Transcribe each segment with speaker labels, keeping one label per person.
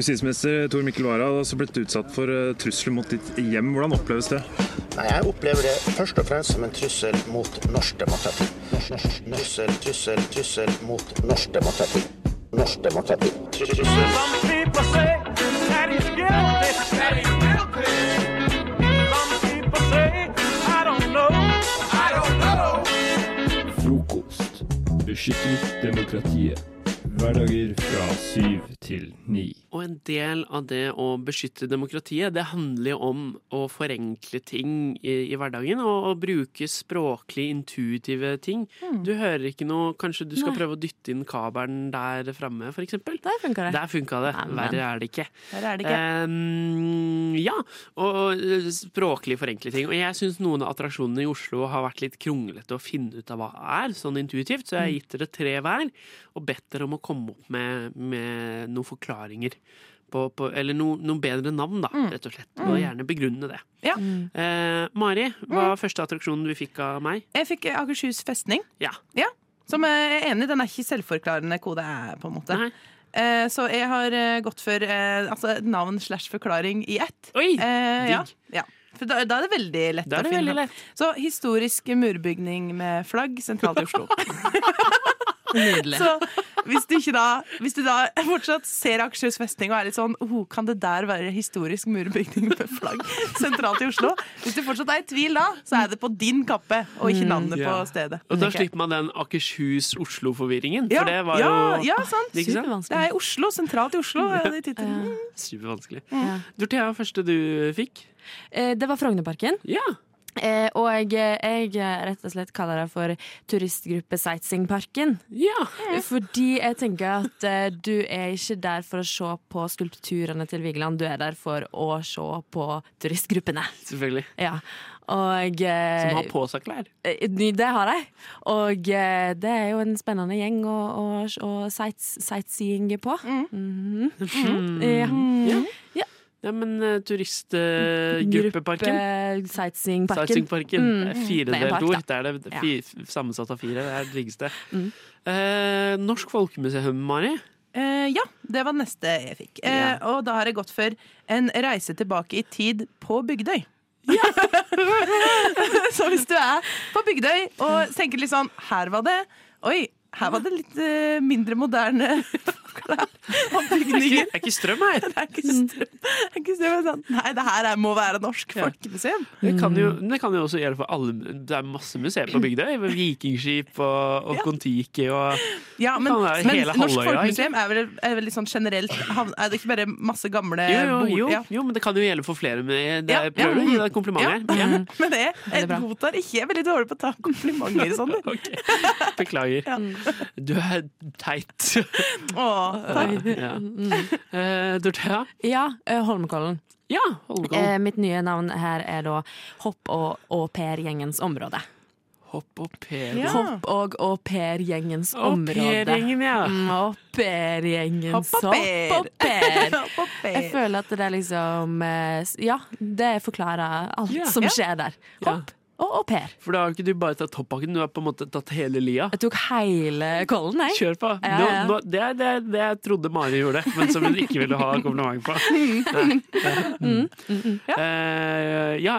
Speaker 1: Justisminister Tor Mikkel Wara har også blitt utsatt for eh, trusler mot ditt hjem. Hvordan oppleves det?
Speaker 2: Nei, Jeg opplever det først og fremst som en trussel mot norsk demokrati. Norsk, norsk, trussel, trussel, trussel mot norsk demokrati. Norsk demokrati. Trussel.
Speaker 3: Some people say that he's guilty. That he's guilty. Some people say I don't know. I don't know.
Speaker 4: Frokost. Beskytter demokratiet. Hverdager fra syv til ni.
Speaker 5: Og en del av det å beskytte demokratiet, det handler jo om å forenkle ting i, i hverdagen. Og, og bruke språklig intuitive ting. Du hører ikke noe Kanskje du skal
Speaker 6: Mm. Nei.
Speaker 5: prøve å dytte inn kabelen der framme, f.eks.
Speaker 6: Der funka det.
Speaker 5: Der funka det.
Speaker 6: Nei, men-
Speaker 5: Verre er det ikke.
Speaker 6: Der er det ikke.
Speaker 5: Eh, ja, og og språklig forenkle ting. Og jeg syns noen av attraksjonene i Oslo har vært litt kronglete å finne ut av hva er, sånn intuitivt, så jeg har
Speaker 6: Mm.
Speaker 5: gitt dere tre hver og bedt dere om å komme opp med, med noen forklaringer. På, på, eller no, noen bedre navn, da,
Speaker 6: Mm.
Speaker 5: rett og slett. Og gjerne begrunne det.
Speaker 6: Ja.
Speaker 5: Eh, Mari, hva var første attraksjonen du fikk av meg?
Speaker 6: Mm. Jeg fikk eh, Akershus festning.
Speaker 5: Ja.
Speaker 6: Ja. Som jeg er enig, i, den er ikke selvforklarende kode, er, på en måte.
Speaker 5: Nei.
Speaker 6: Eh, så jeg har eh, gått for eh, altså, navn slash forklaring i ett.
Speaker 5: Oi!
Speaker 6: Eh, ja.
Speaker 5: digg.
Speaker 6: ja. For da, da er det veldig lett
Speaker 5: Da er det
Speaker 6: å finne.
Speaker 5: veldig lett.
Speaker 6: Så historisk murbygning med flagg sentralt i Oslo.
Speaker 7: Nydelig.
Speaker 6: Så hvis du, ikke da, hvis du da fortsatt ser Akershus festning og er litt sånn oh, Kan det der være historisk murbygning med flagg sentralt i Oslo? Hvis du fortsatt er i tvil da, så er det på din kappe og ikke navnet
Speaker 5: Mm.
Speaker 6: på
Speaker 5: ja.
Speaker 6: stedet.
Speaker 5: Og da
Speaker 6: tenker jeg.
Speaker 5: slipper man den Akershus-Oslo-forvirringen,
Speaker 6: ja,
Speaker 5: for det var
Speaker 6: ja,
Speaker 5: jo
Speaker 6: ja, sant.
Speaker 5: Ikke sant?
Speaker 6: Det er i Oslo, sentralt i Oslo. er det tittelen.
Speaker 5: Supervanskelig.
Speaker 7: Ja.
Speaker 5: Dorthea, første du fikk?
Speaker 7: Eh, Det var Frognerparken.
Speaker 5: Ja.
Speaker 7: eh, Og jeg, jeg eh, rett og slett kaller det for turistgruppe Sightseeingparken. Eh,
Speaker 5: ja.
Speaker 7: Fordi jeg tenker at eh, du er ikke der for å se på skulpturene til Vigeland, du er der for å se på turistgruppene.
Speaker 5: Selvfølgelig.
Speaker 7: Ja. Og eh,
Speaker 5: Som har på seg klær.
Speaker 7: eh, Det har de. Og eh, det er jo en spennende gjeng å, å, å sights, sightseeing på. Mhm. Ja.
Speaker 5: Mm. Ja, men eh, turistgruppeparken.
Speaker 7: Gruppe- Sightseeingparken. Mm.
Speaker 5: Sightseeingparken. Det er
Speaker 7: Det er en
Speaker 5: Firedelt
Speaker 7: park,
Speaker 5: ord. Det
Speaker 7: da.
Speaker 5: er det fi, sammensatt av fire. Det er det diggeste. Eh, Norsk Folkemuseum, Mari.
Speaker 6: Eh, ja, det var neste jeg fikk. Eh, Og da har jeg gått for en reise tilbake i tid på Bygdøy. så hvis du er på Bygdøy og tenker litt sånn Her var det Oi, her var det litt eh, mindre moderne klær og
Speaker 5: Det er ikke,
Speaker 6: bygninger.
Speaker 5: det er ikke strøm her!
Speaker 6: Det er ikke strøm. Det er ikke strøm. Sånn. Nei, det her er, må være norsk
Speaker 5: Ja.
Speaker 6: folkemuseum.
Speaker 5: Det kan, jo, men det kan jo også gjelde for alle Det er masse museer på Bygdøy. med Vikingskip og, og
Speaker 6: Ja.
Speaker 5: Kon-Tiki og
Speaker 6: Ja, men,
Speaker 5: kan være
Speaker 6: men
Speaker 5: hele
Speaker 6: norsk
Speaker 5: halvøya,
Speaker 6: folkemuseum er vel, er vel litt sånn generelt havn- Er det ikke bare masse gamle
Speaker 5: jo, jo,
Speaker 6: bol-
Speaker 5: jo,
Speaker 6: Ja.
Speaker 5: jo, men det kan jo gjelde for flere. Men det
Speaker 6: Ja, ja.
Speaker 5: prøver du å gi deg et kompliment her. Ja.
Speaker 6: Men det, jeg
Speaker 7: bra.
Speaker 6: godtar ikke. Jeg er veldig dårlig på å ta komplimenter. Sånn.
Speaker 5: Ok, Beklager. Du er teit.
Speaker 6: Åh, takk.
Speaker 5: ja. Eh, Dorthea?
Speaker 7: Ja, eh, Holmenkollen.
Speaker 5: Ja, Holmenkollen.
Speaker 7: Eh, mitt nye navn her er da Hopp og au pair-gjengens område.
Speaker 5: Hopp og per.
Speaker 6: Ja.
Speaker 7: Hopp og au pair-gjengens
Speaker 5: Au
Speaker 7: område.
Speaker 5: pair-gjengen, ja.
Speaker 7: Mm, Au pair-gjengens
Speaker 6: Hopp og pair.
Speaker 7: hopp og pair.
Speaker 6: Hopp og pair.
Speaker 7: Jeg føler at det er liksom eh, s- Ja, det forklarer alt
Speaker 5: Ja.
Speaker 7: som
Speaker 6: Ja.
Speaker 7: skjer der.
Speaker 5: Ja.
Speaker 7: Hopp og au pair.
Speaker 5: For da har ikke du bare tatt hoppbakken, du har på en måte tatt hele lia.
Speaker 7: Jeg tok hele kollen, jeg.
Speaker 5: Kjør på.
Speaker 7: Ja,
Speaker 5: Nå,
Speaker 7: ja.
Speaker 5: nå, det er det, er- det jeg trodde Mari gjorde, men som hun ikke ville ha kompliment på.
Speaker 7: Mm.
Speaker 5: Nei. Eh, ja,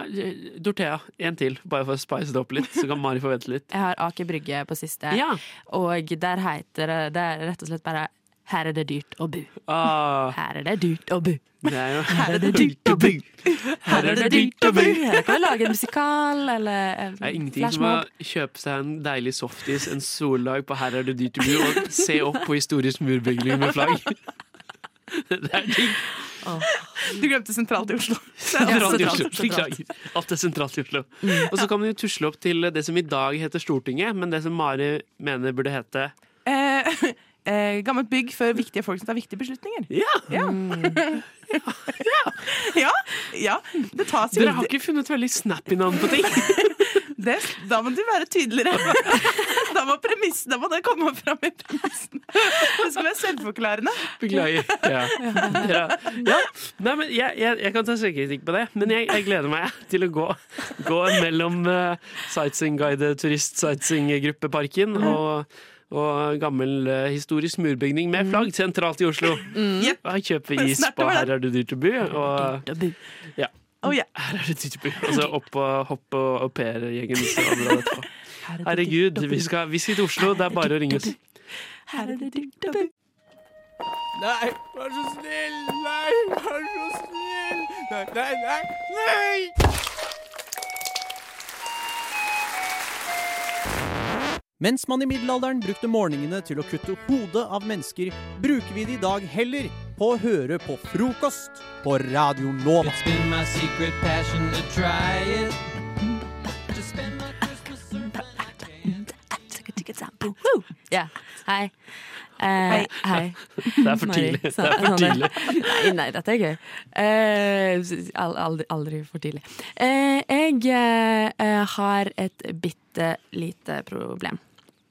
Speaker 5: Dorthea, en til, bare for å spice det opp litt, så kan Mari forvente litt.
Speaker 7: Jeg har Aker Brygge på siste,
Speaker 5: Ja.
Speaker 7: og der heter det, det er rett og slett bare Her er det dyrt å bo.
Speaker 5: Ah,
Speaker 7: Her er det dyrt å bo.
Speaker 5: det er jo
Speaker 6: Her er det dyrt å bo.
Speaker 7: Her er det dyrt å bo. Her kan vi lage en musikal eller eh,
Speaker 5: Det er ingenting som å
Speaker 7: flashmob.
Speaker 5: kjøpe seg en deilig softis en soldag på Her er det dyrt å bo, og se opp på historisk murbygning med flagg. Det er digg.
Speaker 6: Du glemte sentralt i Oslo.
Speaker 5: Sentralt i
Speaker 7: sentralt,
Speaker 5: Oslo.
Speaker 7: sentralt.
Speaker 5: Beklager. Alt er sentralt i Oslo. Og så kan man jo tusle opp til det som i dag heter Stortinget, men det som Mari mener burde hete
Speaker 6: Eh, eh, gammelt bygg for viktige folk som tar viktige beslutninger.
Speaker 5: Ja!
Speaker 6: Ja.
Speaker 7: Mm.
Speaker 6: ja, ja. Det tas jo
Speaker 5: Dere har ikke funnet veldig snappy navn på ting.
Speaker 6: det, Da må du være tydeligere. Da må, premiss, da må det komme fram i premissene. Det skal være selvforklarende.
Speaker 5: Beklager. Ja. Ja. Ja. Nei, men jeg, jeg, jeg kan ta selvkritikk på det, men jeg, jeg gleder meg til å gå, gå mellom uh, sightseeing-guide turist-sightseeing-gruppeparken og og gammel eh, historisk murbygning med flagg sentralt i Oslo.
Speaker 6: Jepp.
Speaker 5: Her kjøper vi is
Speaker 6: Snert
Speaker 5: på
Speaker 6: over det.
Speaker 5: Her Mhm. er det dyrt å bo, og
Speaker 6: Oh, ja.
Speaker 5: her er det dyrt å bo. Og så opp og hopp og au pair-gjengen. som andre hadde etterpå. Herregud, vi skal, vi skal til Oslo. Det er bare å ringe oss.
Speaker 7: Her er det dyrt å bo.
Speaker 8: Nei, vær så snill! Nei, vær så snill! Nei, nei, nei! nei.
Speaker 9: Mens man i middelalderen brukte morgenene til å kutte hodet av mennesker, bruker vi det i dag heller på å høre på frokost på Radio Nova.
Speaker 8: It's been my secret passion to try it. To spend my Christmas so fine I can.
Speaker 7: Ja. Hei. Eh, hei. Sånn,
Speaker 5: Det er for tidlig. Det er for tidlig.
Speaker 7: Nei, nei, dette er gøy. Eh, al- aldri, aldri for tidlig. Eh, jeg eh, eh, har et bitte lite problem.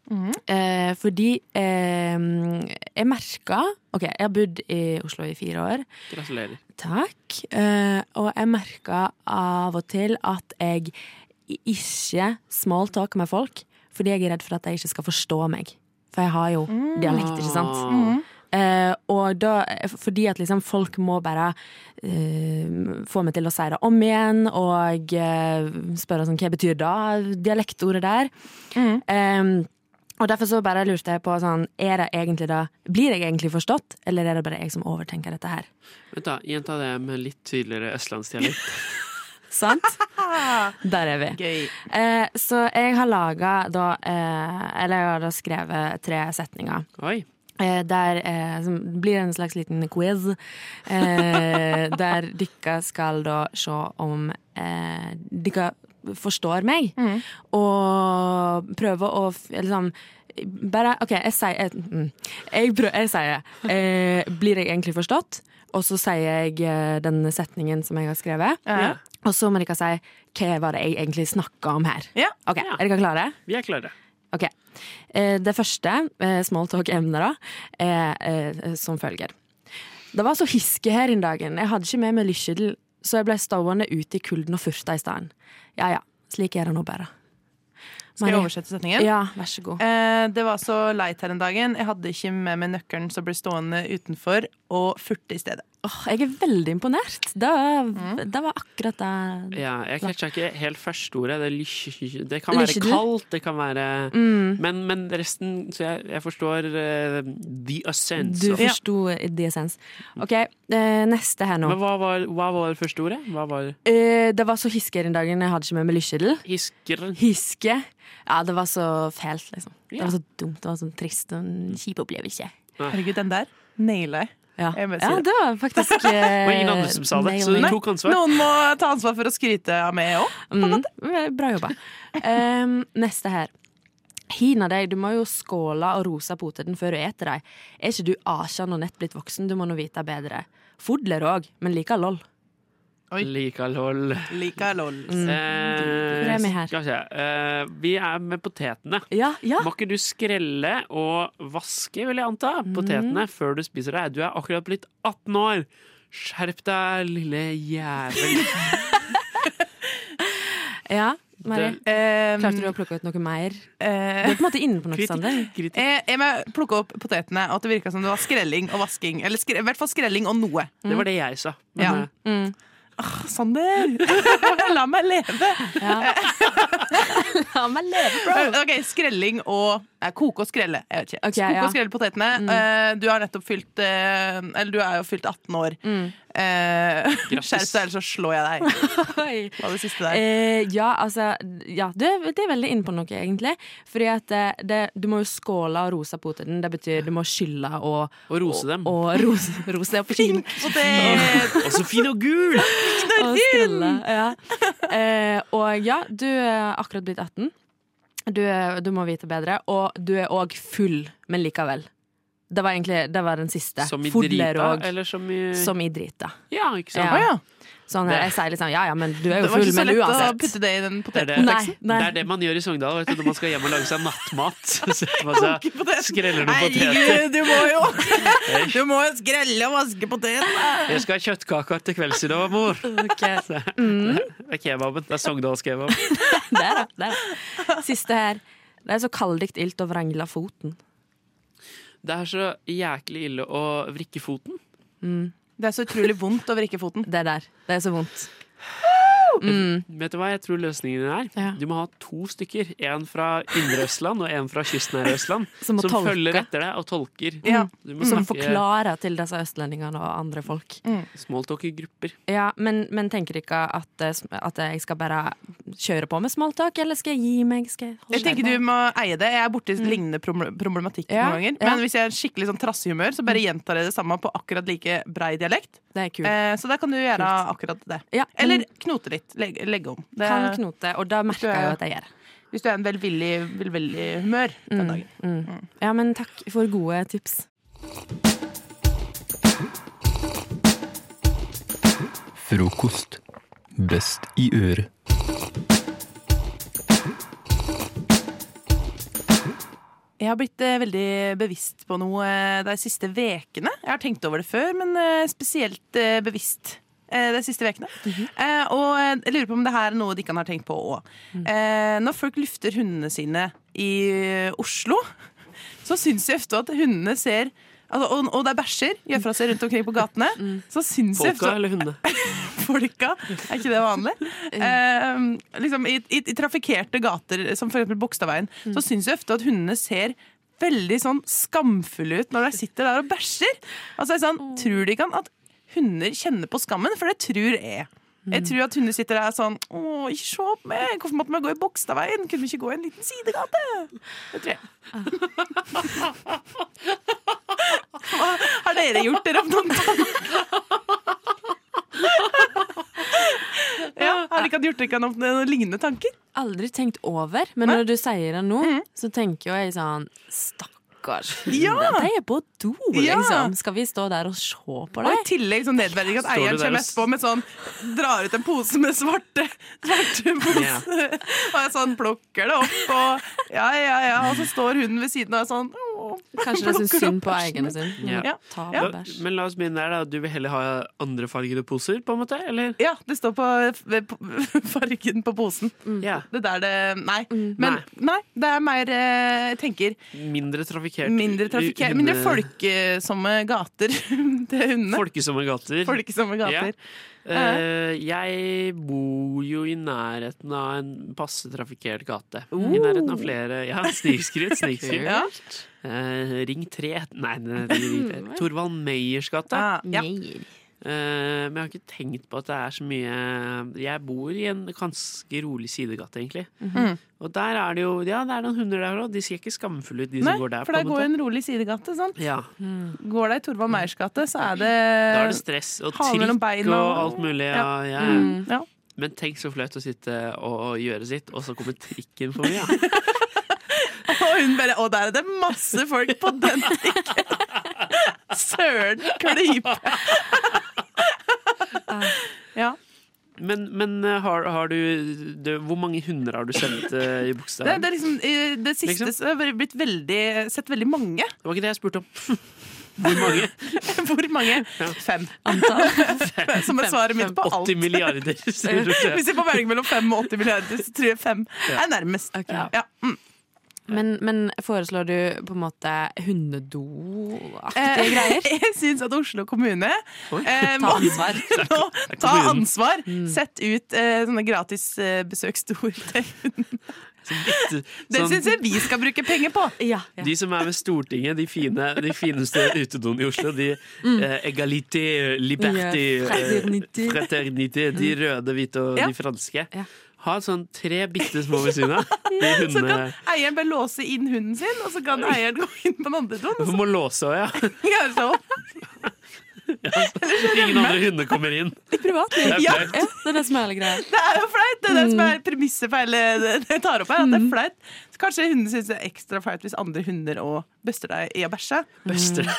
Speaker 6: Mm.
Speaker 7: Eh, fordi eh, jeg merka OK, jeg har bodd i Oslo i fire år.
Speaker 5: Gratulerer.
Speaker 7: Takk. Eh, og jeg merka av og til at jeg i- ikke smalltalker med folk fordi jeg er redd for at de ikke skal forstå meg. For jeg har jo dialekt, ikke sant? Eh, og da, fordi at liksom folk må bare eh, få meg til å si det om igjen, og eh, spørre sånn, hva betyr da dialektordet der? Eh, og derfor så bare lurte jeg på sånn, er det egentlig da, blir jeg egentlig forstått, eller er det bare jeg som overtenker dette her?
Speaker 5: Vent da, Gjenta det med litt tydeligere østlandsdialekt.
Speaker 7: Sant? Der er vi.
Speaker 6: Gøy.
Speaker 7: Eh, så jeg har laga da eh, Eller jeg har da skrevet tre setninger.
Speaker 5: Oi.
Speaker 7: Eh, der eh, som blir en slags liten quiz, eh, der dere skal da se om eh, dere forstår meg.
Speaker 6: Mm.
Speaker 7: Og prøve å f- liksom bare OK, jeg sier jeg, mm, jeg, prø- jeg sier eh, Blir jeg egentlig forstått? Og så sier jeg eh, den setningen som jeg har skrevet.
Speaker 6: Ja.
Speaker 7: Og så må dere si hva var det jeg egentlig snakka om her.
Speaker 6: Ja.
Speaker 7: Ok, Er dere klare?
Speaker 5: Vi er klare.
Speaker 7: Ok. Eh, Det første eh, smalltalk-emnet da, er eh, som følger. Det var så hiske her en dagen. Jeg hadde ikke med meg lykkjedel, så jeg ble stående ute i kulden og furta i stedet. Ja ja, slik er det nå bare.
Speaker 6: Skal jeg
Speaker 7: Marie?
Speaker 6: oversette setningen?
Speaker 7: Ja, vær så god.
Speaker 6: Eh, det var så leit her en dagen. Jeg hadde ikke med meg nøkkelen, så ble stående utenfor og furte i stedet.
Speaker 7: Åh, jeg er veldig imponert. Det,
Speaker 6: Mm.
Speaker 7: det var akkurat det.
Speaker 5: Ja, jeg catcha ikke helt første ordet. Det, er lysj- det kan være
Speaker 7: Lysjedel.
Speaker 5: kaldt, det kan være
Speaker 7: Mm.
Speaker 5: men, men resten Så jeg, jeg forstår eh, the essence.
Speaker 7: Du
Speaker 5: of-
Speaker 7: forsto the essence. OK, eh, neste her nå.
Speaker 5: Men hva var, hva var det første ordet? Hva var
Speaker 7: Eh, Det var så hiske her en dagen. Jeg hadde ikke med meg lykkjedel.
Speaker 5: hisker?
Speaker 7: Hiske. Ja, det var så fælt, liksom. Det
Speaker 5: Ja.
Speaker 7: var så dumt, det var så trist og en kjip opplevelse.
Speaker 6: Herregud, den der naila jeg.
Speaker 7: Ja.
Speaker 6: Jeg må si
Speaker 7: ja,
Speaker 6: det.
Speaker 7: det var faktisk eh, Det
Speaker 5: var ingen andre som sa det, så du tok ansvar.
Speaker 6: Noen må ta ansvar for å skryte av meg òg.
Speaker 7: Mm, bra jobba. Em, neste her. Hina deg, du må jo skåle og rose poteten før du eter dem. Er ikke du Asjan og nett blitt voksen, du må nå vite bedre. Fodler òg, men lika lol.
Speaker 6: Oi.
Speaker 5: Likehold.
Speaker 6: Lika lol.
Speaker 5: Eh,
Speaker 7: Det er med Mm. her.
Speaker 5: skal vi se. Eh, vi er med potetene.
Speaker 7: Ja, ja.
Speaker 5: Må ikke du skrelle og vaske, vil jeg anta,
Speaker 7: Mm.
Speaker 5: potetene før du spiser deg? Du er akkurat blitt 18 år! Skjerp deg, lille jævel.
Speaker 7: ja. Marie,
Speaker 5: Det-
Speaker 6: Eh,
Speaker 7: klarte du å plukke ut noe mer? Du
Speaker 6: eh,
Speaker 7: er på en måte inne på noe, Sander.
Speaker 5: Kritikk.
Speaker 6: eh, jeg må plukke opp potetene, og at det virka som det var skrelling og vasking. Eller skre, i hvert fall skrelling og noe.
Speaker 5: Det
Speaker 7: Mm.
Speaker 5: var det jeg sa. Men,
Speaker 6: Ja.
Speaker 5: eh, Ah,
Speaker 6: Sander! La meg leve!
Speaker 7: La meg leve,
Speaker 6: Eh, Ok, Skrelling og eh, Koke og skrelle. Jeg vet ikke.
Speaker 7: Ok,
Speaker 6: koke
Speaker 7: ja. Mm.
Speaker 6: og skrelle potetene. Eh, du har nettopp fylt eh, Eller du er jo fylt 18 år.
Speaker 7: Mm.
Speaker 6: Eh,
Speaker 5: Grattis.
Speaker 6: Skjerp deg, ellers så slår jeg deg.
Speaker 7: Oi.
Speaker 6: Hva var det siste der?
Speaker 7: Eh, ja, altså ja, det, det er veldig inne på noe, egentlig. Fordi at eh, det, du må jo skåle og rose poteten. Det betyr du må skylle og
Speaker 5: Og rose dem.
Speaker 7: Og, og rose, rose dem på kinn.
Speaker 6: Pink potet!
Speaker 5: Og så fin og gul!
Speaker 7: Og skrelle. Ja. Eh, og ja, du er akkurat blitt 18. Du, er, du må vite bedre. Og du er òg full, men likevel. Det var egentlig det var den siste.
Speaker 5: Som i
Speaker 7: Fodler
Speaker 5: drita,
Speaker 7: og-
Speaker 5: eller som i
Speaker 7: Som i drita.
Speaker 5: Ja, ikke sant?
Speaker 7: Ja.
Speaker 6: Å ja.
Speaker 7: Sånn,
Speaker 5: Det-
Speaker 7: jeg sier liksom ja ja, men du er
Speaker 6: Det
Speaker 7: jo
Speaker 6: var
Speaker 7: full,
Speaker 6: ikke så
Speaker 7: men
Speaker 6: lett å
Speaker 7: uansett.
Speaker 6: putte det i den
Speaker 5: Det er det.
Speaker 6: potetkonteksten.
Speaker 7: nei.
Speaker 5: Det er det man gjør i Sogndal vet du, når man skal hjem og lage seg nattmat. Så setter man seg, skreller noen poteter.
Speaker 6: Herregud, du må jo Du må jo skrelle og vaske potetene!
Speaker 5: Jeg skal ha kjøttkaker til kvelds i dag, mor.
Speaker 7: Ok. Mm.
Speaker 5: Det er kebaben. Det er Sogndalskebab.
Speaker 7: Der, da. Der. da. Siste her. Det er så kalddikt ilt å vrangle foten.
Speaker 5: Det er så jæklig ille å vrikke foten.
Speaker 7: Mm.
Speaker 6: Det er så utrolig vondt å vrikke foten.
Speaker 7: Det der. Det er så vondt. Mm.
Speaker 5: Vet du hva jeg tror løsningen din er?
Speaker 7: Ja.
Speaker 5: Du må ha to stykker. En fra Indre Østland og en fra kystnære Østland.
Speaker 7: Som må tolke.
Speaker 5: følger etter deg og tolker.
Speaker 6: Ja.
Speaker 5: Du må
Speaker 7: Mm. Som
Speaker 5: snakke
Speaker 7: forklarer til disse østlendingene og andre folk.
Speaker 6: Mm.
Speaker 5: smalltalk i grupper.
Speaker 7: Ja, men, men tenker ikke at, eh, sm- at jeg skal bare kjøre på med smalltalk, eller skal jeg gi meg? Skal jeg holde
Speaker 6: Jeg tenker
Speaker 7: meg? Mm.
Speaker 6: du må eie det. Jeg er borti lignende problem- problematikk
Speaker 7: Ja,
Speaker 6: noen ganger.
Speaker 7: ja. Mm.
Speaker 6: Men hvis jeg er skikkelig sånn trassehumør, så bare gjentar jeg det samme på akkurat like brei dialekt.
Speaker 7: Det er kult.
Speaker 6: Eh, så der kan du gjøre akkurat det.
Speaker 7: Ja,
Speaker 6: Eller
Speaker 7: mm.
Speaker 6: knote litt. Legge, legge om. Det,
Speaker 7: Kan knote, og da merker jeg jo at jeg gjør det.
Speaker 6: hvis du er i en velvillig, velvillig humør den dagen.
Speaker 7: Mm.
Speaker 6: Mm.
Speaker 7: Ja, men takk for gode tips.
Speaker 10: Frokost. Best i øret.
Speaker 6: Jeg har blitt eh, veldig bevisst på noe eh, de siste vekene. Jeg har tenkt over det før, men eh, spesielt eh, bevisst eh, de siste vekene. Eh, og eh, jeg lurer på om det her er noe de ikke har tenkt på òg. Eh, når folk lufter hundene sine i eh, Oslo, så syns jeg ofte at hundene ser altså, og, og det er bæsjer gjør fra seg rundt omkring på gatene. Så syns jeg
Speaker 5: Folka
Speaker 6: ofte
Speaker 5: eller hundene?
Speaker 6: folka. Er ikke det vanlig? Eh, liksom i, i, I trafikkerte gater, som f.eks. Bogstadveien, så syns jeg ofte at hundene ser veldig sånn skamfulle ut når de sitter der og bæsjer. Altså, jeg er sånn, Tror de ikke at hunder kjenner på skammen? For det tror jeg. Jeg tror at hunder sitter der sånn Å, ikke se på meg! Hvorfor måtte vi gå i Bogstadveien? Kunne vi ikke gå i en liten sidegate? Det tror jeg. Hva har dere gjort dere om noen Ja, har dere ikke gjort dere noen noen lignende tanker? Mhm.
Speaker 7: Aldri tenkt over, men når du sier det nå, så tenker jo jeg sånn Stakkars hunde,
Speaker 6: Ja.
Speaker 7: de er på do,
Speaker 6: Ja.
Speaker 7: liksom. Skal vi stå der og se på
Speaker 6: Og i
Speaker 7: deg?
Speaker 6: tillegg sånn nedverdigende at
Speaker 5: Står du
Speaker 6: eieren
Speaker 5: der og
Speaker 6: kommer
Speaker 5: s-
Speaker 6: etterpå med sånn Drar ut en pose med svarte Svarte pose
Speaker 5: Ja.
Speaker 6: Og jeg sånn plukker det opp og Ja, ja, ja Og så står hunden ved siden og er sånn «Åh».
Speaker 7: Kanskje de syns
Speaker 6: plukker
Speaker 7: synd
Speaker 6: opp
Speaker 7: på
Speaker 6: bæsjen.
Speaker 7: eierne sin.
Speaker 5: Ja.
Speaker 6: Ja.
Speaker 7: Mm. Ta
Speaker 6: Ja.
Speaker 7: bæsj.
Speaker 5: Men la oss begynne der. da Du vil heller ha andrefargede poser, på en måte? Eller?
Speaker 6: Ja, det står på ved p- fargen på posen
Speaker 7: Mm.
Speaker 5: Ja.
Speaker 6: Det der det, Eh, nei Men nei, det er mer, eh, jeg tenker
Speaker 5: Mindre trafikkert.
Speaker 6: Mindre trafikker, mindre
Speaker 5: hunde-
Speaker 6: folkesomme gater Til hundene
Speaker 5: Folkesomme gater.
Speaker 6: Folkesomme gater
Speaker 5: Eh, jeg bor jo i nærheten av en passe trafikkert gate. I nærheten av flere Ja, snikskritt, snikskritt.
Speaker 6: Oh. Ja.
Speaker 5: Eh, ring 3 Nei, nei, nei ring 3. Torvald Meyers gate.
Speaker 6: Mm. Ah, ja.
Speaker 5: Eh, men jeg har ikke tenkt på at det er så mye Jeg bor i en ganske rolig sidegate, egentlig.
Speaker 7: Mhm.
Speaker 6: Mm.
Speaker 5: Og der er det jo Ja, det er noen hunder der òg. De ser ikke skamfulle ut, de
Speaker 6: Nei,
Speaker 5: som går der.
Speaker 6: for
Speaker 5: på
Speaker 6: der
Speaker 5: en
Speaker 6: går
Speaker 5: måte.
Speaker 6: en rolig sidegate. Sant?
Speaker 5: ja,
Speaker 6: Går det i Torvald Meyers gate, så er det,
Speaker 5: Da er det stress og
Speaker 6: halen Eh, mellom
Speaker 5: trikk
Speaker 6: beina
Speaker 5: og
Speaker 6: og-
Speaker 5: alt mulig. Ja,
Speaker 6: Ja. Mm.
Speaker 5: ja.
Speaker 7: Mm.
Speaker 6: ja.
Speaker 5: Men tenk så flaut å sitte og gjøre sitt, og så kommer trikken forbi. Ja.
Speaker 6: Og hun bare Å, der er det masse folk på den trikken! Søren klype! ja.
Speaker 5: Men, men eh, har, har du, du Hvor mange hunder har du sendt eh, i
Speaker 6: Det,
Speaker 5: Bogstadveien?
Speaker 6: det, er liksom, i det siste
Speaker 5: Liksom?
Speaker 6: så har jeg blitt veldig, sett veldig mange.
Speaker 5: Det var ikke det jeg spurte om. Hvor mange?
Speaker 6: Hvor mange? Fem. Som er svaret mitt på alt.
Speaker 5: 80 milliarder. sier du det.
Speaker 6: Hvis jeg får velge mellom fem og 80 milliarder, så tror jeg fem er nærmest.
Speaker 7: Ok.
Speaker 6: Ja. Mm.
Speaker 7: Men, men foreslår du på en måte hundedo-aktige
Speaker 6: Eh,
Speaker 7: greier?
Speaker 6: Jeg syns at Oslo kommune eh,
Speaker 7: Ta
Speaker 6: må
Speaker 7: ansvar. Mm.
Speaker 6: nå ta
Speaker 5: kommunen.
Speaker 6: ansvar. Sett ut eh, sånne gratis eh, besøkstor til hunden. Det
Speaker 5: Sånn,
Speaker 6: syns jeg vi skal bruke penger på.
Speaker 7: Ja,
Speaker 5: de som er ved Stortinget, de, fine, de fineste utedoene i Oslo, de
Speaker 6: Mm.
Speaker 5: eh, Egalité, Liberté,
Speaker 7: Ja,
Speaker 5: eh,
Speaker 7: fraternité.
Speaker 5: Fraternité, de røde, hvite og
Speaker 6: Mm. Ja.
Speaker 5: de franske.
Speaker 7: Ja.
Speaker 5: Ha sånn tre bitte små ved siden av. De
Speaker 6: Så
Speaker 5: hundene
Speaker 6: kan eieren bare låse inn hunden sin, og så kan eieren gå inn på den andre doen. og
Speaker 5: Hun må låse òg, ja.
Speaker 6: så gjøre sånn. seg opp.
Speaker 5: Ingen andre hunder kommer inn.
Speaker 7: I privatliv.
Speaker 5: Det er
Speaker 7: Ja,
Speaker 5: flaut.
Speaker 7: ja, det er det som er hele greia. Mm.
Speaker 6: Det er jo flaut! Det er det som er premisset for hele det jeg tar opp her. At det er flaut. Så kanskje hunden syns det er ekstra flaut hvis andre hunder òg bøster deg i å bæsje.
Speaker 5: Bøster.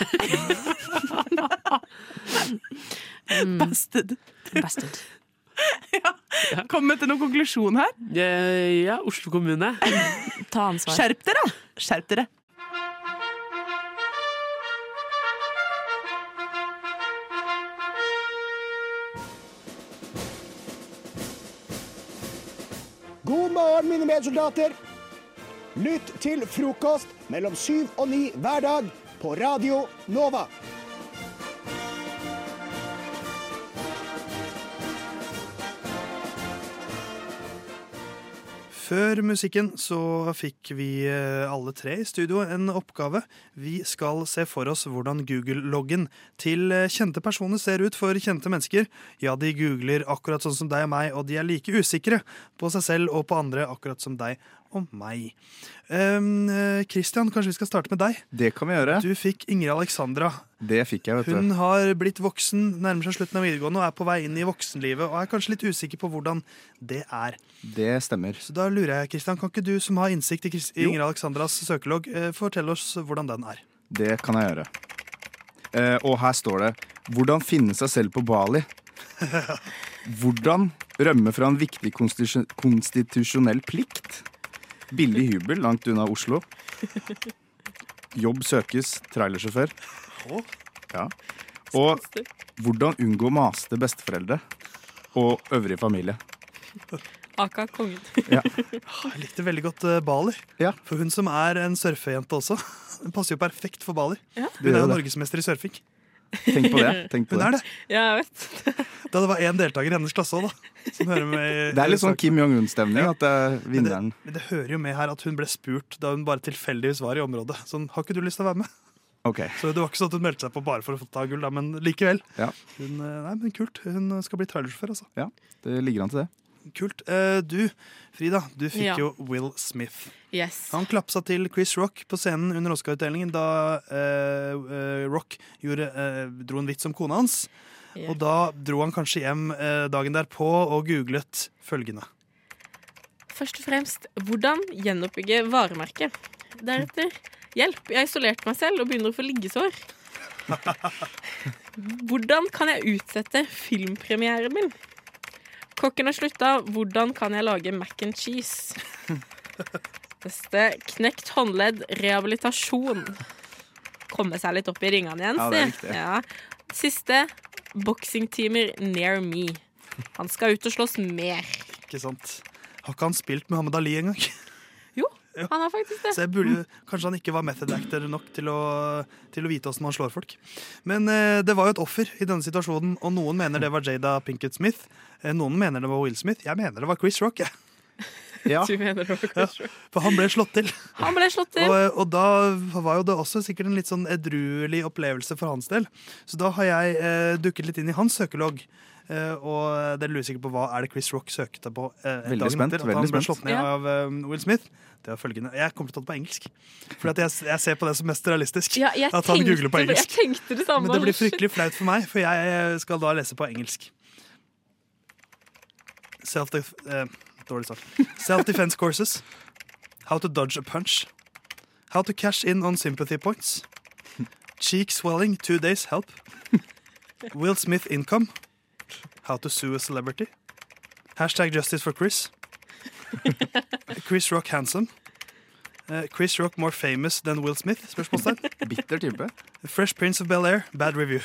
Speaker 6: Busted.
Speaker 7: Mm. Bastard.
Speaker 6: Kom med til noen konklusjon her.
Speaker 5: Eh, Ja, Oslo kommune.
Speaker 7: Ta ansvar.
Speaker 6: Skjerp dere! da. Skjerp dere.
Speaker 2: God morgen, mine medsoldater. Lytt til frokost mellom syv og ni hver dag
Speaker 11: på Radio Nova.
Speaker 12: Før musikken så fikk vi eh, alle tre i studio en oppgave. Vi skal se for oss hvordan Google-loggen til eh, kjente personer ser ut for kjente mennesker. Ja, de googler akkurat sånn som deg og meg, og de er like usikre på seg selv og på andre akkurat som deg og meg. Em, eh, Christian, kanskje vi skal starte med deg.
Speaker 13: Det kan vi gjøre.
Speaker 12: Du fikk Ingrid Alexandra.
Speaker 13: Det fikk jeg, vet
Speaker 12: Hun
Speaker 13: du.
Speaker 12: har blitt voksen, nærmer seg slutten av videregående og er på vei inn i voksenlivet og er kanskje litt usikker på hvordan det er.
Speaker 13: Det stemmer.
Speaker 12: Så da lurer jeg, Kristian, Kan ikke du som har innsikt i Chris-
Speaker 13: Jo.
Speaker 12: Ingrid Alexandras søkelogg, eh, fortelle oss hvordan den er?
Speaker 13: Det kan jeg gjøre. Eh, og her står det Hvordan finne seg selv på Bali? Hvordan rømme fra en viktig konstitusjon- konstitusjonell plikt? Billig hybel langt unna Oslo. Jobb søkes trailersjåfør. Ja. Og hvordan unngå maste besteforeldre og øvrig familie.
Speaker 14: Aka kongen.
Speaker 13: Ja.
Speaker 12: Jeg likte veldig godt eh, Bali. For hun som er en surfejente også. Hun passer jo perfekt for Bali. Hun er
Speaker 13: Det gjør
Speaker 12: jo
Speaker 13: det.
Speaker 12: norgesmester i surfing.
Speaker 13: Tenk på det, tenk på
Speaker 12: hun
Speaker 13: det.
Speaker 12: er det. Da det var én deltaker i hennes klasse òg, da. Som hører med i,
Speaker 13: Det er litt sånn Kim Jong-un-stemning at det er vinneren.
Speaker 12: Men det hører jo med her at hun ble spurt da hun bare tilfeldigvis var i området. Sånn, har ikke du lyst til å være med?
Speaker 13: Ok,
Speaker 12: Så det var ikke sånn at hun meldte seg på bare for å få ta gull, da, men likevel.
Speaker 13: ja.
Speaker 12: Hun, eh, nei, men kult. Hun skal bli trailersjåfør, altså.
Speaker 13: ja. Det ligger an til det.
Speaker 12: Kult. Eh, Du, Frida, du fikk
Speaker 14: Ja.
Speaker 12: jo Will Smith.
Speaker 14: Yes.
Speaker 12: Han klapsa til Chris Rock på scenen under Oscar-utdelingen da eh, eh, Rock gjorde, eh, dro en vits om kona hans.
Speaker 14: Ja.
Speaker 12: Og da dro han kanskje hjem eh, dagen derpå og googlet følgende.
Speaker 14: Først og fremst, hvordan gjenoppbygge varemerket? Deretter, hjelp, jeg har isolert meg selv og begynner å få liggesår. Hvordan kan jeg utsette filmpremieren min? Kokken har slutta, hvordan kan jeg lage mac and cheese? Neste, knekt håndledd, rehabilitasjon. Komme seg litt opp i ringene igjen,
Speaker 15: Ja, det er
Speaker 14: si.
Speaker 15: viktig.
Speaker 14: Ja. Siste, boksingtimer near me. Han skal ut og slåss mer.
Speaker 12: Ikke sant? Har ikke han spilt Muhammad Ali engang?
Speaker 14: Han har faktisk det.
Speaker 12: Så jeg burde, kanskje han ikke var method actor nok til å, til å vite åssen man slår folk. Men eh, det var jo et offer i denne situasjonen, og noen mener det var Jada Pinkett Smith. eh, Noen mener det var Will Smith. Jeg mener det var Chris Rock. Jeg.
Speaker 14: Du mener det var Chris
Speaker 12: Rock. For han ble slått til.
Speaker 14: Han ble slått til.
Speaker 12: Og, og da var jo det også sikkert en litt sånn edruelig opplevelse for hans del. Så da har jeg eh, dukket litt inn i hans søkelogg. eh, og dere lurer sikkert på hva er det Chris Rock søkte på eh,
Speaker 13: Veldig
Speaker 12: dagen
Speaker 13: spent,
Speaker 12: etter at
Speaker 13: veldig
Speaker 12: han ble
Speaker 13: spent.
Speaker 12: slått ned
Speaker 13: Ja.
Speaker 12: av eh, Will Smith. Det var følgende. Jeg kommer til å ta det på engelsk. For at jeg, jeg ser på det som mest realistisk.
Speaker 14: Ja, jeg
Speaker 12: at han
Speaker 14: tenkte
Speaker 12: googler på
Speaker 14: det- jeg
Speaker 12: engelsk.
Speaker 14: tenkte det samme.
Speaker 12: Men det blir
Speaker 14: Shit.
Speaker 12: fryktelig flaut for meg, for jeg eh, skal da lese på engelsk. Self-def... eh, dårlig start. Self-defense courses. How to dodge a punch. How to cash in on sympathy points. Cheek swelling, two days help. Will Smith income. How to sue a celebrity. Hashtag justice for Chris. Chris Rock handsome. Eh, Chris Rock more famous than Will Smith? Spørsmålstegn.
Speaker 13: Bitter type.
Speaker 12: Fresh Prince of Bel-Air, bad review.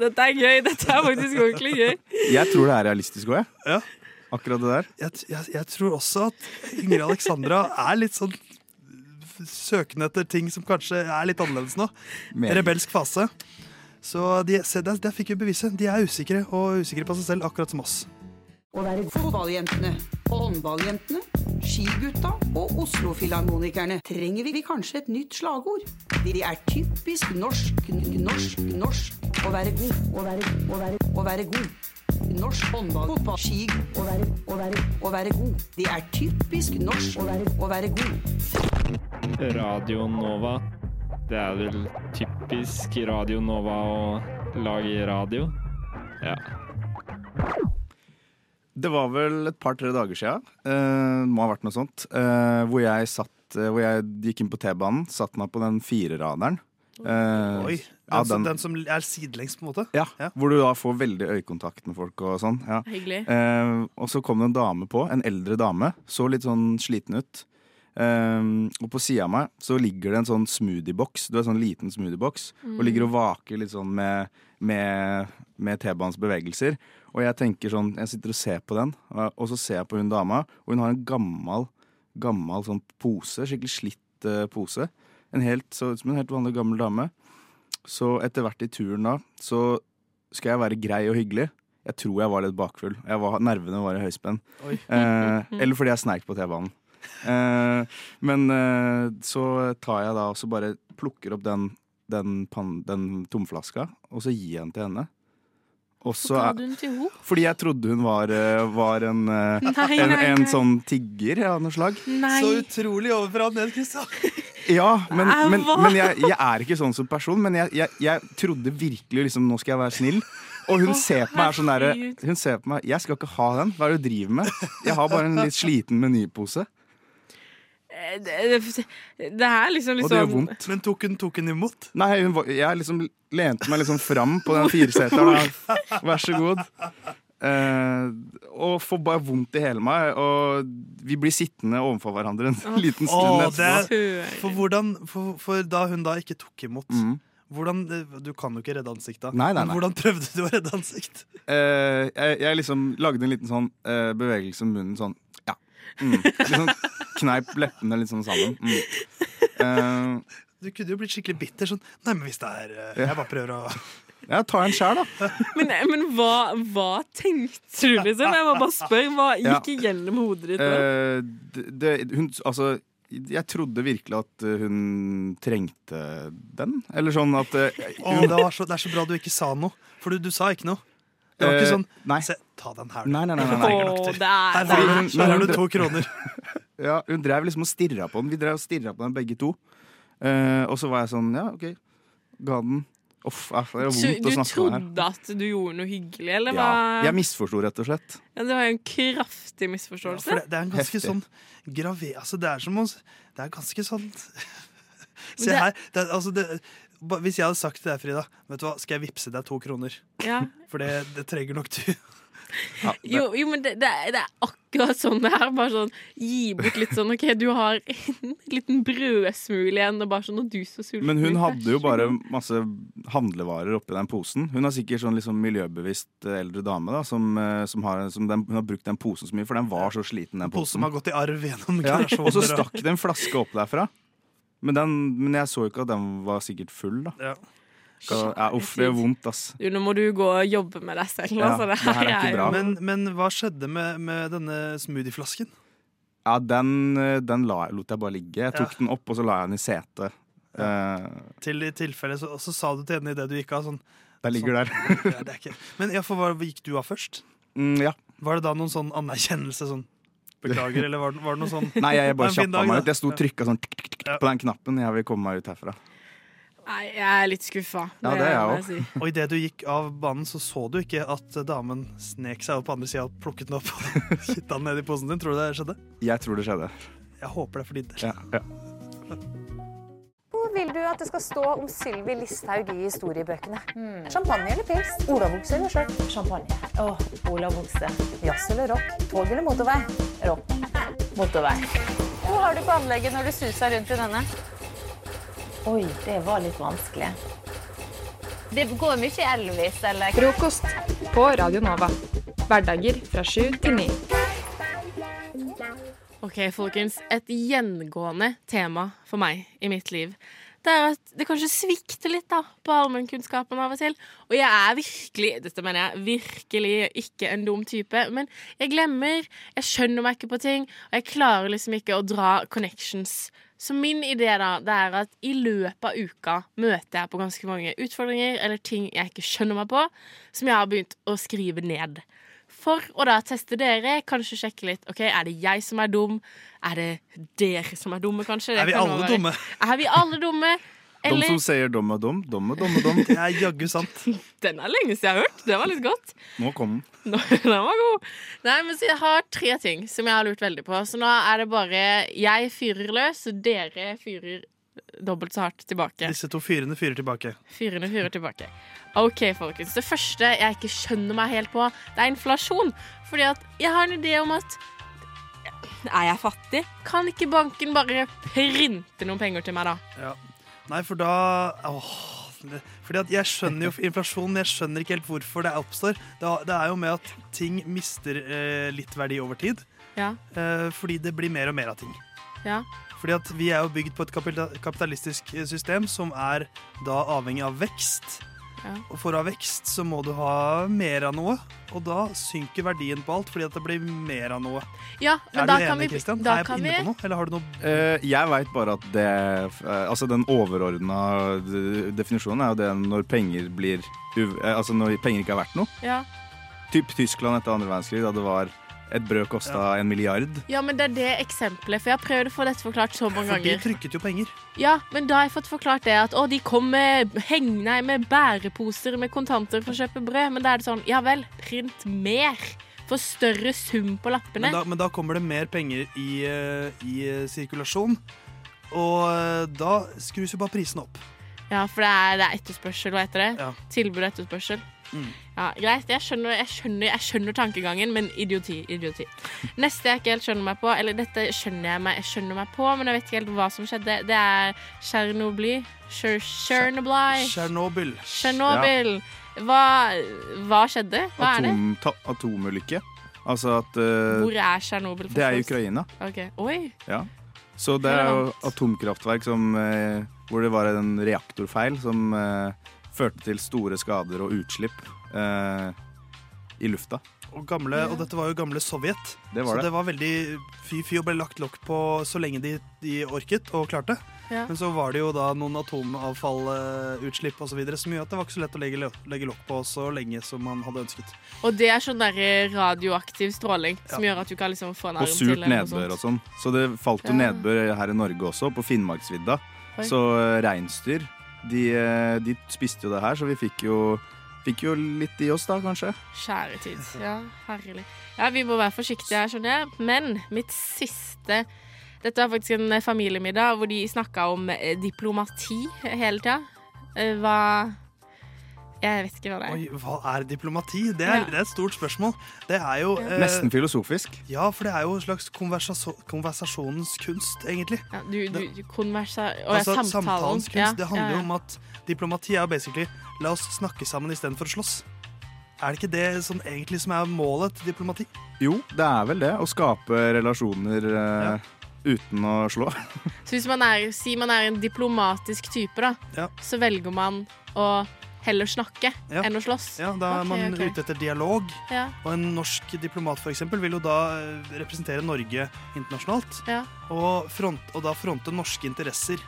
Speaker 14: Dette er gøy. Dette er faktisk ordentlig gøy.
Speaker 13: Jeg tror det er realistisk òg, jeg.
Speaker 12: Ja.
Speaker 13: Akkurat det der.
Speaker 12: Jeg, jeg, jeg tror også at Ingrid Alexandra er litt sånn søkende etter ting som kanskje er litt annerledes nå.
Speaker 13: Meget.
Speaker 12: Rebelsk fase. Så de, se, der, der fikk vi beviset. De er usikre, og usikre på seg selv, akkurat som oss.
Speaker 16: Å være fotballjentene, håndballjentene, skigutta og Oslo-filharmonikerne trenger vi kanskje et nytt slagord. De er typisk norsk, n- norsk, norsk. Å være god, å være, å være, å være god. Norsk håndball, fotball, ski. Å være, å være, å være god. De er typisk norsk, å være, å være god.
Speaker 4: Radio Nova. Det er vel typisk Radio Nova å lage radio. Ja.
Speaker 13: Det var vel et par-tre dager siden, eh, må ha vært noe sånt, eh, hvor, jeg satt, eh, hvor jeg gikk inn på T-banen, satt meg på den fireraderen. Eh,
Speaker 12: Oi.
Speaker 13: ja,
Speaker 12: Den, som,
Speaker 13: den-
Speaker 12: den som er sidelengs, på en måte.
Speaker 13: ja, Hvor du da får veldig øyekontakt med folk og sånn. Ja.
Speaker 12: Hyggelig.
Speaker 13: Eh, og så kom det en dame på, en eldre dame, så litt sånn sliten ut. Eh, og på sida av meg så ligger det en sånn smoothieboks, du er sånn liten smoothieboks, og
Speaker 17: Mm.
Speaker 13: ligger og vaker litt sånn med, med, med T-banens bevegelser. Og jeg tenker sånn, jeg sitter og ser på den, og og så ser jeg på hun dama, og hun har en gammel, gammel sånn pose, skikkelig slitt eh, pose. en helt, så ut som en helt vanlig gammel dame. Så etter hvert i turen da, så skal jeg være grei og hyggelig. Jeg tror jeg var litt bakfull. Jeg var, nervene var i høyspenn.
Speaker 12: Oi.
Speaker 13: Eh, eller fordi jeg sneik på T-banen. Eh, men eh, så tar jeg da og så bare plukker opp den, den, pan, den tomflaska, og så gir jeg den til henne. Og så
Speaker 14: Ga
Speaker 13: er-
Speaker 14: du den til henne?
Speaker 13: fordi jeg trodde hun var, eh, var en, eh,
Speaker 14: Nei, nei,
Speaker 13: en,
Speaker 14: nei.
Speaker 13: en sånn tigger av noe slag.
Speaker 12: Så utrolig overfra og ned, Kristian.
Speaker 13: Ja, men,
Speaker 12: Au,
Speaker 13: men,
Speaker 12: hva?
Speaker 13: men jeg, jeg er ikke sånn som person. Men jeg, jeg, jeg trodde virkelig liksom, nå skal jeg være snill. Og hun
Speaker 12: Å,
Speaker 13: ser på meg er sånn derre
Speaker 12: herregud.
Speaker 13: Hun ser på meg Jeg skal ikke ha den. Hva er det du driver med? Jeg har bare en litt sliten menypose.
Speaker 14: Eh, Det, det, det er liksom
Speaker 13: Og
Speaker 14: litt
Speaker 13: det gjør
Speaker 14: sånn
Speaker 13: vondt.
Speaker 12: Men tok hun, tok hun imot?
Speaker 13: Nei, hun, var- jeg liksom lente meg liksom fram på den fireseteren. da. Vær så god. Eh, og får bare vondt i hele meg. Og vi blir sittende overfor hverandre en liten
Speaker 12: Åh,
Speaker 13: stund etterpå.
Speaker 12: det er- for, hvordan, for, for da hun da ikke tok imot
Speaker 13: Mhm.
Speaker 12: hvordan, eh, Du kan jo ikke redde ansiktet.
Speaker 13: Nei, nei,
Speaker 12: Men
Speaker 13: nei.
Speaker 12: Hvordan prøvde du å redde ansikt?
Speaker 13: Eh, jeg, jeg liksom lagde en liten sånn eh, bevegelse med munnen sånn Ja. Mm. Litt sånn kneip leppene litt sånn sammen. Mm. Eh,
Speaker 12: Du kunne jo blitt skikkelig bitter. Sånn, nei, men hvis det er eh, Jeg bare prøver å
Speaker 13: ja, ta en sjæl, da.
Speaker 14: Men, eh, men hva, hva tenkte du, liksom? Jeg må bare spørre. Hva
Speaker 13: Ja.
Speaker 14: gikk gjennom hodet ditt? da?
Speaker 13: Eh, det, det- hun, altså, jeg trodde virkelig at eh, hun trengte den. Eller sånn at eh,
Speaker 12: Åh, det, var så, det er så bra du ikke sa noe. For du, du sa ikke noe. Det var ikke
Speaker 13: Eh,
Speaker 12: sånn
Speaker 13: nei.
Speaker 12: Se, ta den her.
Speaker 13: Nei, nei, nei, nei,
Speaker 12: Jeg
Speaker 13: nei.
Speaker 12: trenger nok til.
Speaker 14: Åh, det er-
Speaker 12: Her har du- her har du to kroner.
Speaker 13: ja, hun drev liksom og stirra på den. Vi drev og stirra på den begge to. Eh, og så var jeg sånn, ja, OK. Ga den. Uff, æff, det er
Speaker 14: Så
Speaker 13: vondt
Speaker 14: du
Speaker 13: å snakke om det her.
Speaker 14: trodde at du gjorde noe hyggelig, eller
Speaker 13: Ja,
Speaker 14: hva?
Speaker 13: jeg misforsto, rett og slett.
Speaker 14: Ja, det var jo en kraftig
Speaker 12: Ja,
Speaker 14: misforståelse.
Speaker 12: for det, det er en ganske
Speaker 13: Heftig.
Speaker 12: sånn grave... Altså, det er som å Det er ganske sånn
Speaker 14: det-
Speaker 12: Se her. Det, er- altså, det, ba- hvis jeg hadde sagt til deg, Frida, vet du hva, skal jeg vippse deg to kroner?
Speaker 14: Ja.
Speaker 12: For det, det trenger nok du.
Speaker 14: Jo, jo, men det, det, er, det er akkurat sånn det er. Bare sånn, gi bort litt sånn OK, du har en liten brødsmule igjen, og bare sånn Og du så sulten
Speaker 13: Men hun
Speaker 14: ut, vær
Speaker 13: hadde jo
Speaker 14: så
Speaker 13: bare
Speaker 14: god.
Speaker 13: masse handlevarer oppi den posen. Hun er sikkert sånn liksom miljøbevisst eh, eldre dame da, som, eh, som, har, som den, hun har brukt den posen så mye, for den var så sliten, den
Speaker 12: Pose som
Speaker 13: posen.
Speaker 12: har gått i arv gjennom
Speaker 13: Ja.
Speaker 12: generasjoner.
Speaker 13: Og så stakk det en flaske opp derfra. Men, den, men jeg så jo ikke at den var sikkert full, da.
Speaker 12: Ja.
Speaker 13: Så, ja, uff, det gjør vondt, ass.
Speaker 14: Du, nå må du gå og jobbe med deg selv.
Speaker 13: Ja,
Speaker 14: altså, det
Speaker 13: det her er ikke
Speaker 14: jo-
Speaker 13: bra.
Speaker 12: Men, men hva skjedde med, med denne smoothieflasken?
Speaker 13: Ja, den, eh, den la, jeg- lot jeg bare ligge. Jeg tok
Speaker 12: Ja.
Speaker 13: den opp, og så la jeg den i setet. Eh,
Speaker 12: Til i tilfelle, så, så sa du til henne idet du gikk av sånn
Speaker 13: den ligger der.
Speaker 12: ja, det er ikke. Men ja, for hva gikk du av først?
Speaker 13: Mm, ja.
Speaker 12: Var det da noen sånn anerkjennelse sånn Beklager, eller var det, var det noe sånn
Speaker 13: Nei, jeg
Speaker 12: «Ha en
Speaker 13: bare
Speaker 12: fin
Speaker 13: kjappa
Speaker 12: dag,
Speaker 13: meg
Speaker 12: da».
Speaker 13: ut. Jeg sto og
Speaker 12: Ja.
Speaker 13: trykka sånn tikk, tikk, tikk, på den knappen. Jeg vil komme meg ut herfra.
Speaker 14: Nei, jeg er litt skuffa.
Speaker 13: Ja, det er jeg
Speaker 14: må
Speaker 13: også.
Speaker 14: si.
Speaker 12: Og idet du gikk av banen, så så du ikke at damen snek seg opp på andre sida og plukket den opp og kitta den ned i posen din. Tror du det skjedde?
Speaker 13: Jeg tror det skjedde.
Speaker 12: Jeg håper det er for din del.
Speaker 13: Ja, ja.
Speaker 11: Hvor vil du at det skal stå om Sylvi Listhaug i historiebøkene? Hmm. Champagne eller pils? Olavokse eller skjørt? Champagne. Åh, olavokse. Jazz eller rock? Tog eller motorvei? Rock. Motorvei. Hva har du på anlegget når du suser rundt i denne? Oi, det var litt vanskelig. Det går mye Elvis eller
Speaker 15: Frokost på Radio Nova. Hverdager fra sju til ni.
Speaker 14: OK, folkens. Et gjengående tema for meg i mitt liv. Det er at det kanskje svikter litt da, på allmennkunnskapen av og til. Og jeg er virkelig dette mener jeg, virkelig ikke en dum type, men jeg glemmer. Jeg skjønner meg ikke på ting, og jeg klarer liksom ikke å dra connections. Så min idé da, det er at i løpet av uka møter jeg på ganske mange utfordringer eller ting jeg ikke skjønner meg på, som jeg har begynt å skrive ned. For å da teste dere, kanskje sjekke litt. Ok, Er det jeg som er dum? Er det dere som er dumme, kanskje? Det
Speaker 13: Er vi
Speaker 14: kan jo
Speaker 13: alle
Speaker 14: være-
Speaker 13: dumme?
Speaker 14: Er vi alle dumme?
Speaker 13: De som sier dom er dom, dom er dom er dom.
Speaker 12: Det er jaggu sant.
Speaker 14: Den er lenge siden jeg har hørt. Det var litt godt.
Speaker 13: Nå kom den.
Speaker 14: Nå- Den var god. Nei, men så jeg har tre ting som jeg har lurt veldig på. Så nå er det bare jeg fyrer løs, og dere fyrer dobbelt så hardt tilbake.
Speaker 12: Disse to fyrene fyrer tilbake.
Speaker 14: Fyrene fyrer tilbake. OK, folkens. Det første jeg ikke skjønner meg helt på, det er inflasjon. Fordi at jeg har en idé om at Er jeg fattig? Kan ikke banken bare printe noen penger til meg, da?
Speaker 12: Ja. Nei, for da åh, det, Fordi at jeg skjønner jo inflasjon, men jeg skjønner ikke helt hvorfor det oppstår. Det, har- det er jo med at ting mister eh, litt verdi over tid.
Speaker 14: Ja.
Speaker 12: Eh, fordi det blir mer og mer av ting.
Speaker 14: Ja.
Speaker 12: Fordi at vi er jo bygd på et kapita- kapitalistisk system som er da avhengig av vekst.
Speaker 7: Ja.
Speaker 12: Og for å ha vekst så må du ha mer av noe, og da synker verdien på alt fordi at det blir mer av noe.
Speaker 14: Ja, men
Speaker 12: er
Speaker 14: da
Speaker 12: du
Speaker 14: kan
Speaker 12: enig,
Speaker 14: vi-
Speaker 12: Kristian?
Speaker 14: da
Speaker 12: er jeg
Speaker 14: kan
Speaker 12: inne
Speaker 14: vi-
Speaker 12: på noe, eller har du noe
Speaker 13: Eh, jeg veit bare at det eh, Altså den overordna definisjonen er jo det når penger blir uv- eh, Altså når penger ikke er verdt noe.
Speaker 14: Ja.
Speaker 13: Typ Tyskland etter andre verdenskrig, da det var et brød kosta en milliard.
Speaker 14: ja, men det er det eksempelet, for jeg har prøvd å få dette forklart så mange
Speaker 12: For de
Speaker 14: ganger.
Speaker 12: trykket jo penger.
Speaker 14: Ja, men da har jeg fått forklart det at å, de kom med heng, nei, med bæreposer med kontanter for å kjøpe brød, men da er det sånn, ja vel, print mer. Få større sum på lappene.
Speaker 12: Men da, men da kommer det mer penger i, eh, i eh, sirkulasjon, og eh, da skrus jo bare prisene opp.
Speaker 14: Ja, for det er, det er etterspørsel, hva heter det?
Speaker 12: Ja.
Speaker 14: Tilbud og etterspørsel.
Speaker 12: Mm.
Speaker 14: Ja, greit, jeg skjønner, jeg, skjønner, jeg skjønner tankegangen, men idioti, idioti. Neste jeg ikke helt skjønner meg på, eller dette skjønner jeg meg, jeg skjønner meg på, men jeg vet ikke helt hva som skjedde, det er Tsjernobyl. Tsjernobyl.
Speaker 12: Tsjernobyl.
Speaker 14: Tsjernobyl. Hva, hva skjedde? Hva er det?
Speaker 13: Atom, ta, atomulykke. Altså at eh,
Speaker 14: Hvor er Tsjernobyl?
Speaker 13: Det er i Ukraina.
Speaker 14: Ok, oi.
Speaker 13: Ja. Så det er jo atomkraftverk som, eh, hvor det var en reaktorfeil som eh, førte til store skader og utslipp eh, i lufta.
Speaker 12: Og, gamle, og dette var jo gamle Sovjet.
Speaker 13: Det var
Speaker 12: så
Speaker 13: det.
Speaker 12: det var veldig fy-fy og ble lagt lokk på så lenge de, de orket og klarte.
Speaker 14: Ja.
Speaker 12: Men så var det jo da noen atomavfallutslipp osv. som gjorde at det var ikke så lett å legge, lo- legge lokk på så lenge som man hadde ønsket.
Speaker 14: Og det er sånn der radioaktiv stråling som
Speaker 12: Ja.
Speaker 14: gjør at du kan liksom få en arm
Speaker 13: Og
Speaker 14: til.
Speaker 13: surt
Speaker 14: eller noe
Speaker 13: nedbør
Speaker 14: sånt.
Speaker 13: og sånn. Så det falt jo
Speaker 14: Ja.
Speaker 13: nedbør her i Norge også, på Finnmarksvidda.
Speaker 14: Oi.
Speaker 13: Så eh, reinsdyr, de, eh, de spiste jo det her, så vi fikk jo, fikk jo litt i oss da, kanskje.
Speaker 14: Kjære tid. Ja, herlig. Ja, vi må være forsiktige her, skjønner jeg. Men mitt siste Dette var faktisk en eh, familiemiddag hvor de snakka om eh, diplomati hele tida. Eh, Hva Jeg vet ikke hva det er.
Speaker 12: Oi, hva er diplomati? Det er,
Speaker 14: Ja.
Speaker 12: det er et stort spørsmål. Det er jo eh,
Speaker 13: Nesten filosofisk.
Speaker 12: Ja, for det er jo en slags konversaso- konversasjonens kunst, egentlig.
Speaker 14: Du, du,
Speaker 12: Det-
Speaker 14: du konversa... Å, ja,
Speaker 12: altså,
Speaker 14: samtalen.
Speaker 12: samtalens
Speaker 14: Ja,
Speaker 12: kunst. det handler jo
Speaker 14: ja, ja.
Speaker 12: om at diplomati er jo basically la oss snakke sammen istedenfor å slåss. Er det ikke det som egentlig som er målet til diplomati?
Speaker 13: Jo, det er vel det. Å skape relasjoner eh, uten å slå.
Speaker 14: Så hvis man er, si man er en diplomatisk type, da, så velger man å heller snakke
Speaker 12: Ja.
Speaker 14: enn å slåss.
Speaker 12: Ja, da er
Speaker 14: Ok,
Speaker 12: man
Speaker 14: ok.
Speaker 12: ute etter dialog.
Speaker 14: Ja.
Speaker 12: Og en norsk diplomat for eksempel, vil jo da eh, representere Norge internasjonalt.
Speaker 14: Ja.
Speaker 12: Og, front, og da fronte norske interesser.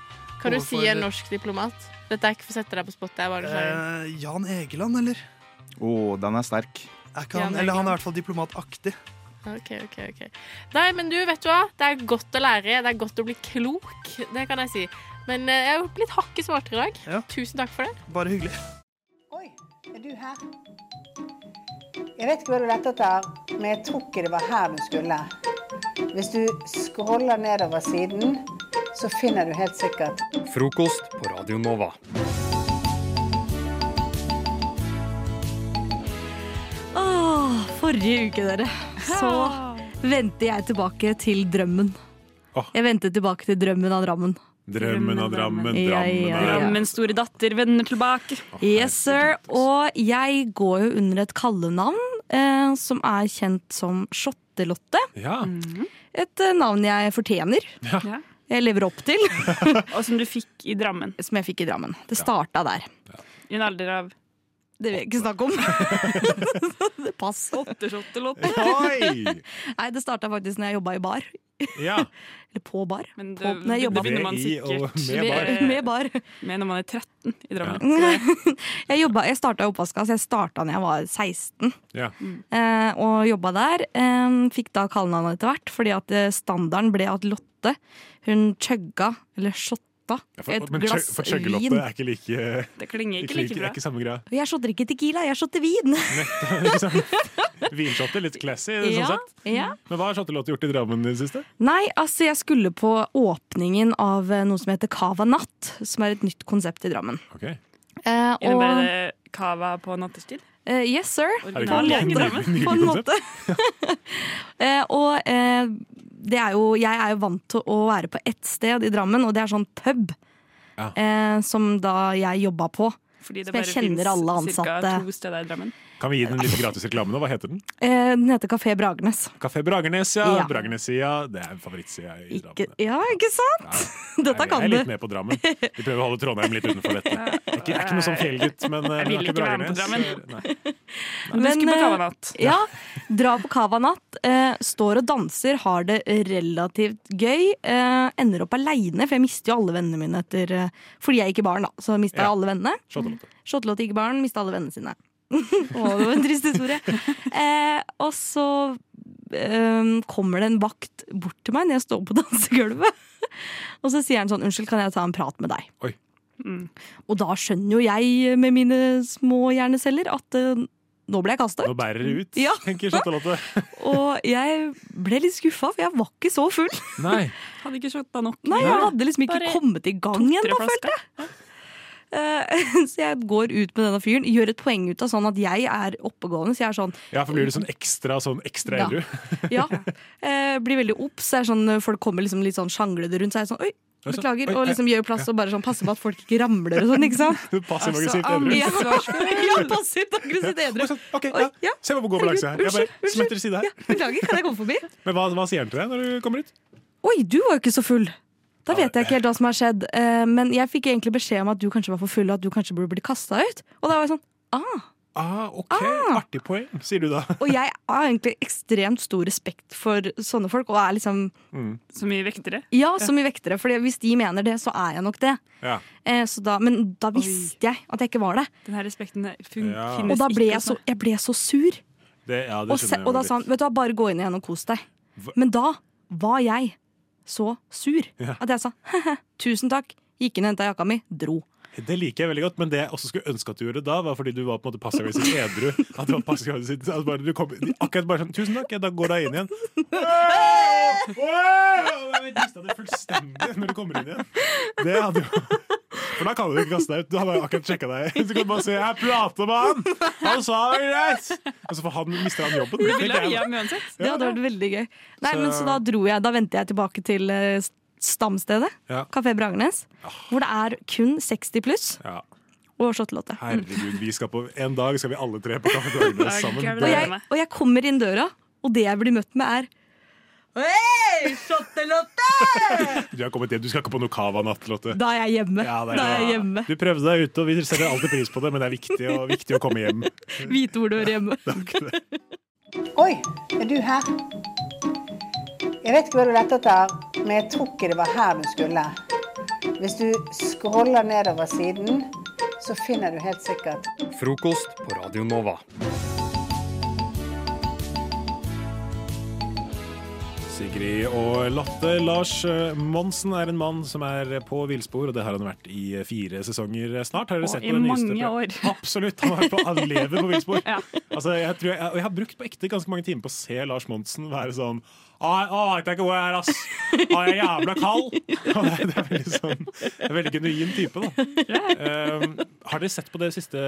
Speaker 14: Kan du
Speaker 12: overfor-
Speaker 14: si en norsk diplomat? Dette er ikke for å sette deg på spottet. Jeg bare nysgjerrig.
Speaker 12: Eh, Jan Egeland, eller?
Speaker 13: Å, den er sterk.
Speaker 12: Er ikke
Speaker 14: Jan
Speaker 12: han, eller han
Speaker 14: Egeland.
Speaker 12: er i hvert fall diplomataktig.
Speaker 14: Ok, ok, ok. Nei, men du, vet du hva? Det er godt å lære. Det er godt å bli klok. Det kan jeg si. Men eh, jeg har blitt hakket smartere i dag.
Speaker 12: Ja.
Speaker 14: Tusen takk for det.
Speaker 12: Bare hyggelig.
Speaker 17: Er du her? Jeg vet ikke hva du lette etter, men jeg tror ikke det var her du skulle. Hvis du scroller nedover siden, så finner du helt sikkert
Speaker 10: Frokost på Radio Nova.
Speaker 18: Åh, forrige uke, dere, så vendte jeg tilbake til drømmen. Jeg vendte tilbake til drømmen av Drammen.
Speaker 19: Drømmen av Drammen,
Speaker 18: Ja, ja, ja.
Speaker 19: Drammen er
Speaker 18: Drammens
Speaker 19: store datter vender tilbake.
Speaker 18: Yes, sir. Og jeg går jo under et kallenavn eh, som er kjent som Shottelotte.
Speaker 19: Ja.
Speaker 18: Et eh, navn jeg fortjener. Jeg lever opp til.
Speaker 19: Og som du fikk i Drammen.
Speaker 18: Som jeg fikk i Drammen. Det starta der.
Speaker 19: I en alder av
Speaker 18: Det vil jeg ikke snakke om. Pass. Åtteshottelotte.
Speaker 19: Oi!
Speaker 18: Nei, det starta faktisk når jeg jobba i bar.
Speaker 19: Ja.
Speaker 18: Eller på bar.
Speaker 19: Men det,
Speaker 18: på, nei, jeg
Speaker 19: det
Speaker 18: jobbet-
Speaker 19: begynner man sikkert
Speaker 18: Med- med bar.
Speaker 19: Med når man er 13 i Drammen.
Speaker 18: Jeg, jobbet- jeg starta i oppvaska, så jeg starta da jeg var 16.
Speaker 19: Ja.
Speaker 18: eh, og jobba der. Eh, fikk da kallenavnet etter hvert, fordi at eh, standarden ble at Lotte hun chugga, eller shotta,
Speaker 19: Ja,
Speaker 18: et
Speaker 19: men
Speaker 18: glass
Speaker 19: chug- for chuggelotte
Speaker 18: vin.
Speaker 19: er ikke like Det klinger ikke, like bra. Det er ikke samme greia.
Speaker 18: Og Jeg shotter ikke Tequila, jeg shotter vin!
Speaker 19: Vinshotter, litt classy,
Speaker 18: Ja,
Speaker 19: sånn sett.
Speaker 18: ja.
Speaker 19: Men hva har Shottelotte gjort i Drammen i det siste?
Speaker 18: Nei, altså jeg skulle på åpningen av eh, noe som heter Cava Natt, som er et nytt konsept i Drammen.
Speaker 19: Okay.
Speaker 18: Eh,
Speaker 19: Innebærer det cava på nattestid?
Speaker 18: Eh, yes, sir.
Speaker 19: Herregud,
Speaker 18: På en
Speaker 19: det er ikke
Speaker 18: måte.
Speaker 19: Drammen.
Speaker 18: På en måte. Eh, og eh, det er jo, jeg er jo vant til å være på ett sted i Drammen, og det er sånn pub.
Speaker 19: Ja.
Speaker 18: Eh, som da jeg jobba på.
Speaker 19: Fordi
Speaker 18: Så jeg kjenner
Speaker 19: finnes
Speaker 18: alle
Speaker 19: Cirka
Speaker 18: ansatte.
Speaker 19: to steder i Drammen.
Speaker 20: Kan vi gi den en liten gratisreklame nå? Hva heter den?
Speaker 18: Eh, Den heter Kafé Bragernes.
Speaker 20: Kafé Bragernes, ja.
Speaker 18: Ja.
Speaker 20: Bragernesia. Det er favorittsida i Drammen.
Speaker 18: Ikke- Ja, ikke sant? Dette
Speaker 20: Jeg
Speaker 18: kan
Speaker 20: er
Speaker 18: du.
Speaker 20: litt med på Drammen. Vi prøver å holde Trondheim litt unnenfor dette. Jeg er ikke, jeg er ikke noe sånn fjellgutt, men
Speaker 19: Jeg
Speaker 20: eh, men
Speaker 19: vil
Speaker 20: er
Speaker 19: ikke være med på
Speaker 20: Bragernes.
Speaker 19: Drammen.
Speaker 20: Nei.
Speaker 19: Men du skal på
Speaker 18: eh,
Speaker 19: Kavanatt.
Speaker 18: Ja, dra på Kavanatt. Eh, står og danser, har det relativt gøy. Eh, ender opp aleine, for jeg mister jo alle vennene mine etter eh, Fordi jeg gikk i baren, da. Så mista
Speaker 20: Ja.
Speaker 18: jeg alle vennene.
Speaker 20: Shottelotte.
Speaker 18: Shottelotte gikk i baren, mista alle vennene sine. Å, det var en trist historie. Eh, og så eh, kommer det en vakt bort til meg når jeg står på dansegulvet. Og så sier han sånn 'Unnskyld, kan jeg ta en prat med deg?' Mm. Og da skjønner jo jeg med mine små hjerneceller at eh, nå ble jeg kasta ut.
Speaker 20: Nå bærer det ut,
Speaker 18: Ja.
Speaker 20: tenker Shottelotte.
Speaker 18: Og jeg ble litt skuffa, for jeg var ikke så full.
Speaker 20: Nei.
Speaker 18: Hadde ikke shotta nok. Nei, jeg hadde liksom ikke
Speaker 19: Bare
Speaker 18: kommet i gang igjen, da, følte jeg. Eh, Så jeg går ut med denne fyren, gjør et poeng ut av sånn at jeg er oppegående. Så jeg er sånn
Speaker 20: Ja, for blir du sånn ekstra sånn ekstra
Speaker 18: Ja.
Speaker 20: edru?
Speaker 18: Ja. eh, Blir veldig obs. så er det Sånn, folk kommer liksom litt sånn sjanglete rundt, så er jeg sånn oi.
Speaker 20: Oi, så-
Speaker 18: Beklager,
Speaker 20: oi,
Speaker 18: og liksom gjør plass og bare sånn passer på at folk ikke ramler og sånn. ikke sant?
Speaker 20: Passivt-aggressivt
Speaker 18: Altså,
Speaker 20: edru.
Speaker 18: ja. Ja, passivt aggressivt edru.
Speaker 20: Ok, ja. Se hvor god balanse her. Jeg bare smetter til side her.
Speaker 18: Beklager, kan jeg komme forbi?
Speaker 20: Men hva, hva sier han til deg når du kommer ut?
Speaker 18: Oi, du var jo ikke så full. Da vet jeg ikke helt hva som har skjedd, eh, men jeg fikk egentlig beskjed om at du kanskje var for full, og at du kanskje burde bli kasta ut. Og da var jeg sånn ah.
Speaker 20: Ah, ok, Artig poeng, sier du da.
Speaker 18: Og jeg har egentlig ekstremt stor respekt for sånne folk, og er liksom
Speaker 19: Så mye vektere.
Speaker 18: Ja, så mye vektere, for hvis de mener det, så er jeg nok det.
Speaker 20: Ja.
Speaker 18: Eh, så da, men da visste jeg at jeg ikke var det.
Speaker 19: Den her respekten fun
Speaker 20: Ja.
Speaker 19: finnes
Speaker 18: Og da ble
Speaker 19: ikke,
Speaker 18: jeg så,
Speaker 19: altså.
Speaker 18: jeg ble så sur.
Speaker 20: Det, ja, det
Speaker 18: Og, se,
Speaker 20: skjønner jeg
Speaker 18: og da
Speaker 20: litt.
Speaker 18: sa han vet du hva, bare gå inn igjen og kos deg. Men da var jeg så sur
Speaker 20: Ja.
Speaker 18: at jeg sa tusen takk, gikk inn og henta jakka mi, dro.
Speaker 20: Det liker jeg veldig godt, men det jeg også skulle ønske at du gjorde da, var fordi du var på en måte passiv-aggressiv edru. At du var passiv-aggressiv at bare, du kom, Akkurat bare sånn 'Tusen takk, ja, da går jeg inn igjen'. Jeg mista det fullstendig når du kommer inn igjen. Det hadde jo For da kan du ikke kaste deg ut. Du hadde jo akkurat sjekka deg. Så kan du bare si 'Jeg prata med han! Han sa det greit!' Og så får han, mister han jobben.
Speaker 19: Du ville ha hjem uansett.
Speaker 18: Det hadde vært veldig gøy. Nei,
Speaker 20: Så-
Speaker 18: men så da dro jeg. Da vendte jeg tilbake til eh, stamstedet,
Speaker 20: Ja. Ah.
Speaker 18: Kafé Bragernes, hvor det er kun 60 pluss
Speaker 20: Ja.
Speaker 18: og shottelotte.
Speaker 20: Herregud, vi skal på, en dag skal vi alle tre på Kaffe Dragenes sammen.
Speaker 18: Mm. Og jeg, og jeg kommer inn døra, og det jeg blir møtt med, er Hei, shottelotte!
Speaker 20: Du har kommet hjem, du skal ikke på noe Cava-natt, Lotte.
Speaker 18: Da er jeg hjemme.
Speaker 20: Ja, det
Speaker 18: da er jeg
Speaker 20: bra.
Speaker 18: hjemme.
Speaker 20: Du prøvde deg ute, og vi setter alltid pris på det, men det er viktig, og, viktig å komme hjem.
Speaker 18: Vite hvor du hører hjemme.
Speaker 17: Oi, er du her? Jeg vet ikke hva du lette etter, men jeg tror ikke det var her du skulle. Hvis du scroller nedover siden, så finner du helt sikkert
Speaker 10: Frokost på Radio Nova.
Speaker 20: Sigrid og Lotte. Lars eh, Monsen er en mann som er på villspor, og det har han vært i eh, fire sesonger snart. Har dere
Speaker 19: Og
Speaker 20: sett
Speaker 19: i
Speaker 20: på det nyeste?
Speaker 19: mange år.
Speaker 20: Absolutt. Han, har vært på, han lever på villspor. Altså, jeg, tror jeg, og jeg har brukt på ekte ganske mange timer på å se Lars Monsen være sånn Å, veit jeg ikke hvor jeg er, ass! Å, jeg er jævla kald! Og det, det er veldig sånn det er veldig genuin type, da. Um, har dere sett på det siste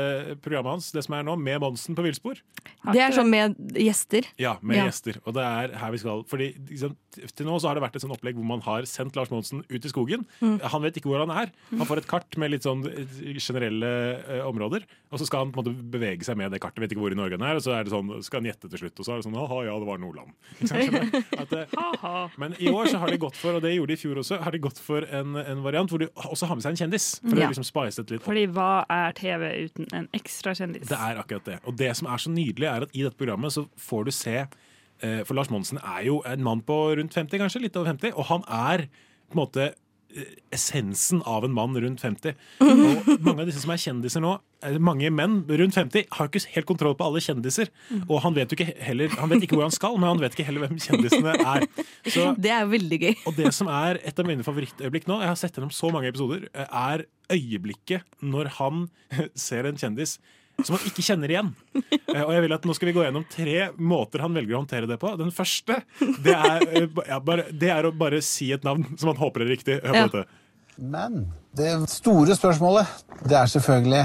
Speaker 20: programmet hans, det som er nå, med Monsen på villspor?
Speaker 18: Det er sånn med gjester.
Speaker 20: Ja, med
Speaker 18: Ja.
Speaker 20: gjester. Og det er her vi skal. Fordi liksom, Til nå så har det vært et sånn opplegg hvor man har sendt Lars Monsen ut i skogen.
Speaker 18: Mm.
Speaker 20: Han vet ikke hvor han er. Han får et kart med litt sånn eh, generelle eh, områder, og så skal han på en måte bevege seg med det kartet. Vet ikke hvor i Norge han er, og så er det sånn, skal han gjette til slutt. Og så er det sånn ha ja, det var Nordland. Ikke sant? Skjønner du? At, eh, men i år så har de gått for, og det gjorde de i fjor også, har de gått for en, en variant hvor de også har med seg en kjendis. For
Speaker 19: Ja.
Speaker 20: å liksom spice det litt opp.
Speaker 19: Fordi hva er TV uten en ekstra kjendis?
Speaker 20: Det er akkurat det. Og det som er så nydelig, er at i dette programmet så får du se eh, For Lars Monsen er jo en mann på rundt 50, kanskje? Litt over 50. Og han er på en måte eh, essensen av en mann rundt 50. Og mange av disse som er kjendiser nå, eller mange menn rundt 50, har ikke helt kontroll på alle kjendiser. Og han vet jo ikke heller Han vet ikke hvor han skal, men han vet ikke heller hvem kjendisene er. Så-
Speaker 18: det er jo veldig gøy.
Speaker 20: og det som er et av mine favorittøyeblikk nå, jeg har sett gjennom så mange episoder, eh, er øyeblikket når han ser en kjendis som han ikke kjenner igjen. Eh, Og jeg vil at Nå skal vi gå gjennom tre måter han velger å håndtere det på. Den første det er, eh, ba- ja, bare, det er å bare si et navn som han håper er riktig. Hør på
Speaker 21: Ja.
Speaker 20: dette.
Speaker 21: Men det store spørsmålet, det er selvfølgelig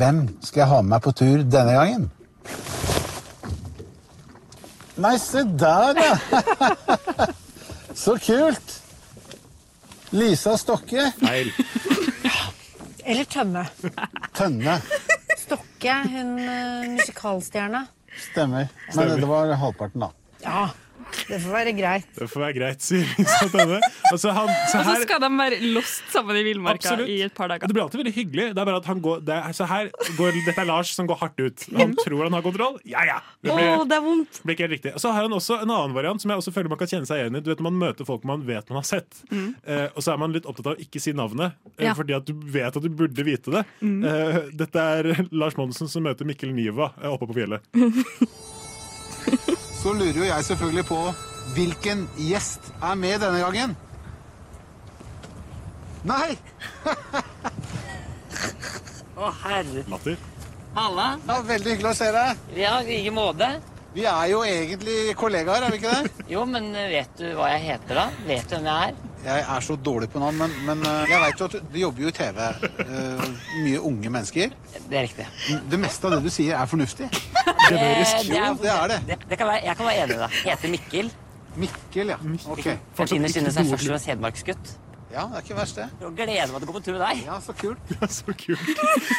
Speaker 21: Hvem skal jeg ha med meg på tur denne gangen? Nei, se der, ja! Så kult! Lisa Stokke.
Speaker 20: Feil.
Speaker 1: Eller Tønne.
Speaker 21: Tønne.
Speaker 1: Stokke, hun eh, musikalstjerna.
Speaker 21: Stemmer. Men
Speaker 20: Stemmer.
Speaker 21: det var halvparten, da.
Speaker 1: Ja, det får være greit.
Speaker 20: Det får være greit, sier Lisa Tønne. Altså, han, så
Speaker 19: Og så
Speaker 20: her,
Speaker 19: skal de være lost sammen i villmarka
Speaker 20: Absolutt.
Speaker 19: i et par dager.
Speaker 20: det blir alltid veldig hyggelig. Det er bare at han går, det er, så her går, Dette er Lars som går hardt ut. Han tror han har kontroll. Ja, ja! Det
Speaker 18: Å, det er vondt.
Speaker 20: blir ikke helt riktig. Og Så har han også en annen variant som jeg også føler man kan kjenne seg igjen i. Du vet, Man møter folk man vet man har sett,
Speaker 18: Mm.
Speaker 20: eh, og så er man litt opptatt av å ikke si navnet. eh,
Speaker 18: Ja.
Speaker 20: Fordi at du vet at du burde vite det.
Speaker 18: Mm.
Speaker 20: Eh, dette er Lars Monsen som møter Mikkel Niva eh, oppe på fjellet.
Speaker 21: Så lurer jo jeg selvfølgelig på hvilken gjest er med denne gangen. Nei!
Speaker 22: Å, herre.
Speaker 20: Latter.
Speaker 22: Halla.
Speaker 21: Ja, veldig hyggelig å se deg.
Speaker 22: Ja, i like måte.
Speaker 21: Vi er jo egentlig kollegaer, er vi ikke det?
Speaker 22: Jo, men eh, vet du hva jeg heter, da? Vet du hvem jeg er?
Speaker 21: Jeg er så dårlig på navn, men, men eh, jeg veit jo at du- du jobber jo i TV. eh, Mye unge mennesker.
Speaker 22: Det er riktig.
Speaker 21: Det meste av det du sier, er fornuftig.
Speaker 22: Eh, det er-
Speaker 21: Jo, det er det.
Speaker 22: Det, det kan være, jeg kan være enig i det. Jeg heter Mikkel.
Speaker 21: Mikkel, ja. Ok.
Speaker 22: Jeg innerst inne så er jeg først og fremst hedmarksgutt.
Speaker 21: Ja, det er ikke verst, det.
Speaker 22: Og gleder meg til å gå på tur med deg.
Speaker 21: Ja, så kult.
Speaker 20: Det er så kult.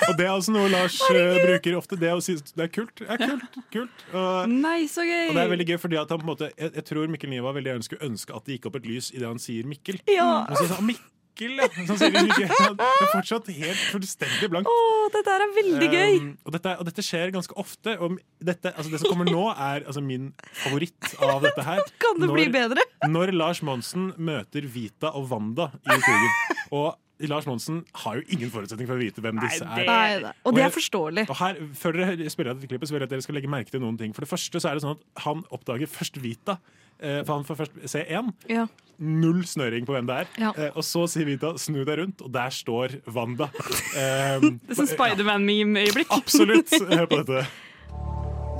Speaker 20: Og det er altså noe Lars eh, bruker ofte. Det å si det er kult. Det er kult, kult. Og,
Speaker 19: Nei, så gøy!
Speaker 20: og det er veldig gøy, fordi at han på en måte Jeg, jeg tror Mikkel Niva veldig gjerne skulle ønske at det gikk opp et lys idet han sier Mikkel.
Speaker 18: Ja.
Speaker 20: Og så sa han Mikkel, ja. Så han sier det ikke. Det er fortsatt helt fullstendig blankt.
Speaker 18: Å, det der er veldig gøy!
Speaker 20: Um, og, dette, og dette skjer ganske ofte. Og dette, altså det som kommer nå, er altså min favoritt av dette her.
Speaker 18: Kan det bli bedre?
Speaker 20: Når Lars Monsen møter Vita og Wanda i skogen. Og Lars Monsen har jo ingen forutsetning for å vite hvem disse er.
Speaker 18: Nei, da. Og det er
Speaker 20: jeg-
Speaker 18: forståelig.
Speaker 20: og her, før dere spiller dette klippet, så vil jeg at dere skal legge merke til noen ting. For det første så er det sånn at han oppdager først Vita. eh, For han får først se én.
Speaker 18: Ja.
Speaker 20: Null snøring på hvem det er.
Speaker 18: Ja.
Speaker 20: Eh, Og så sier Vita 'snu deg rundt', og der står Wanda. Um,
Speaker 19: Det er sånn Spiderman-meme-øyeblikk.
Speaker 20: Absolutt. Hør på dette.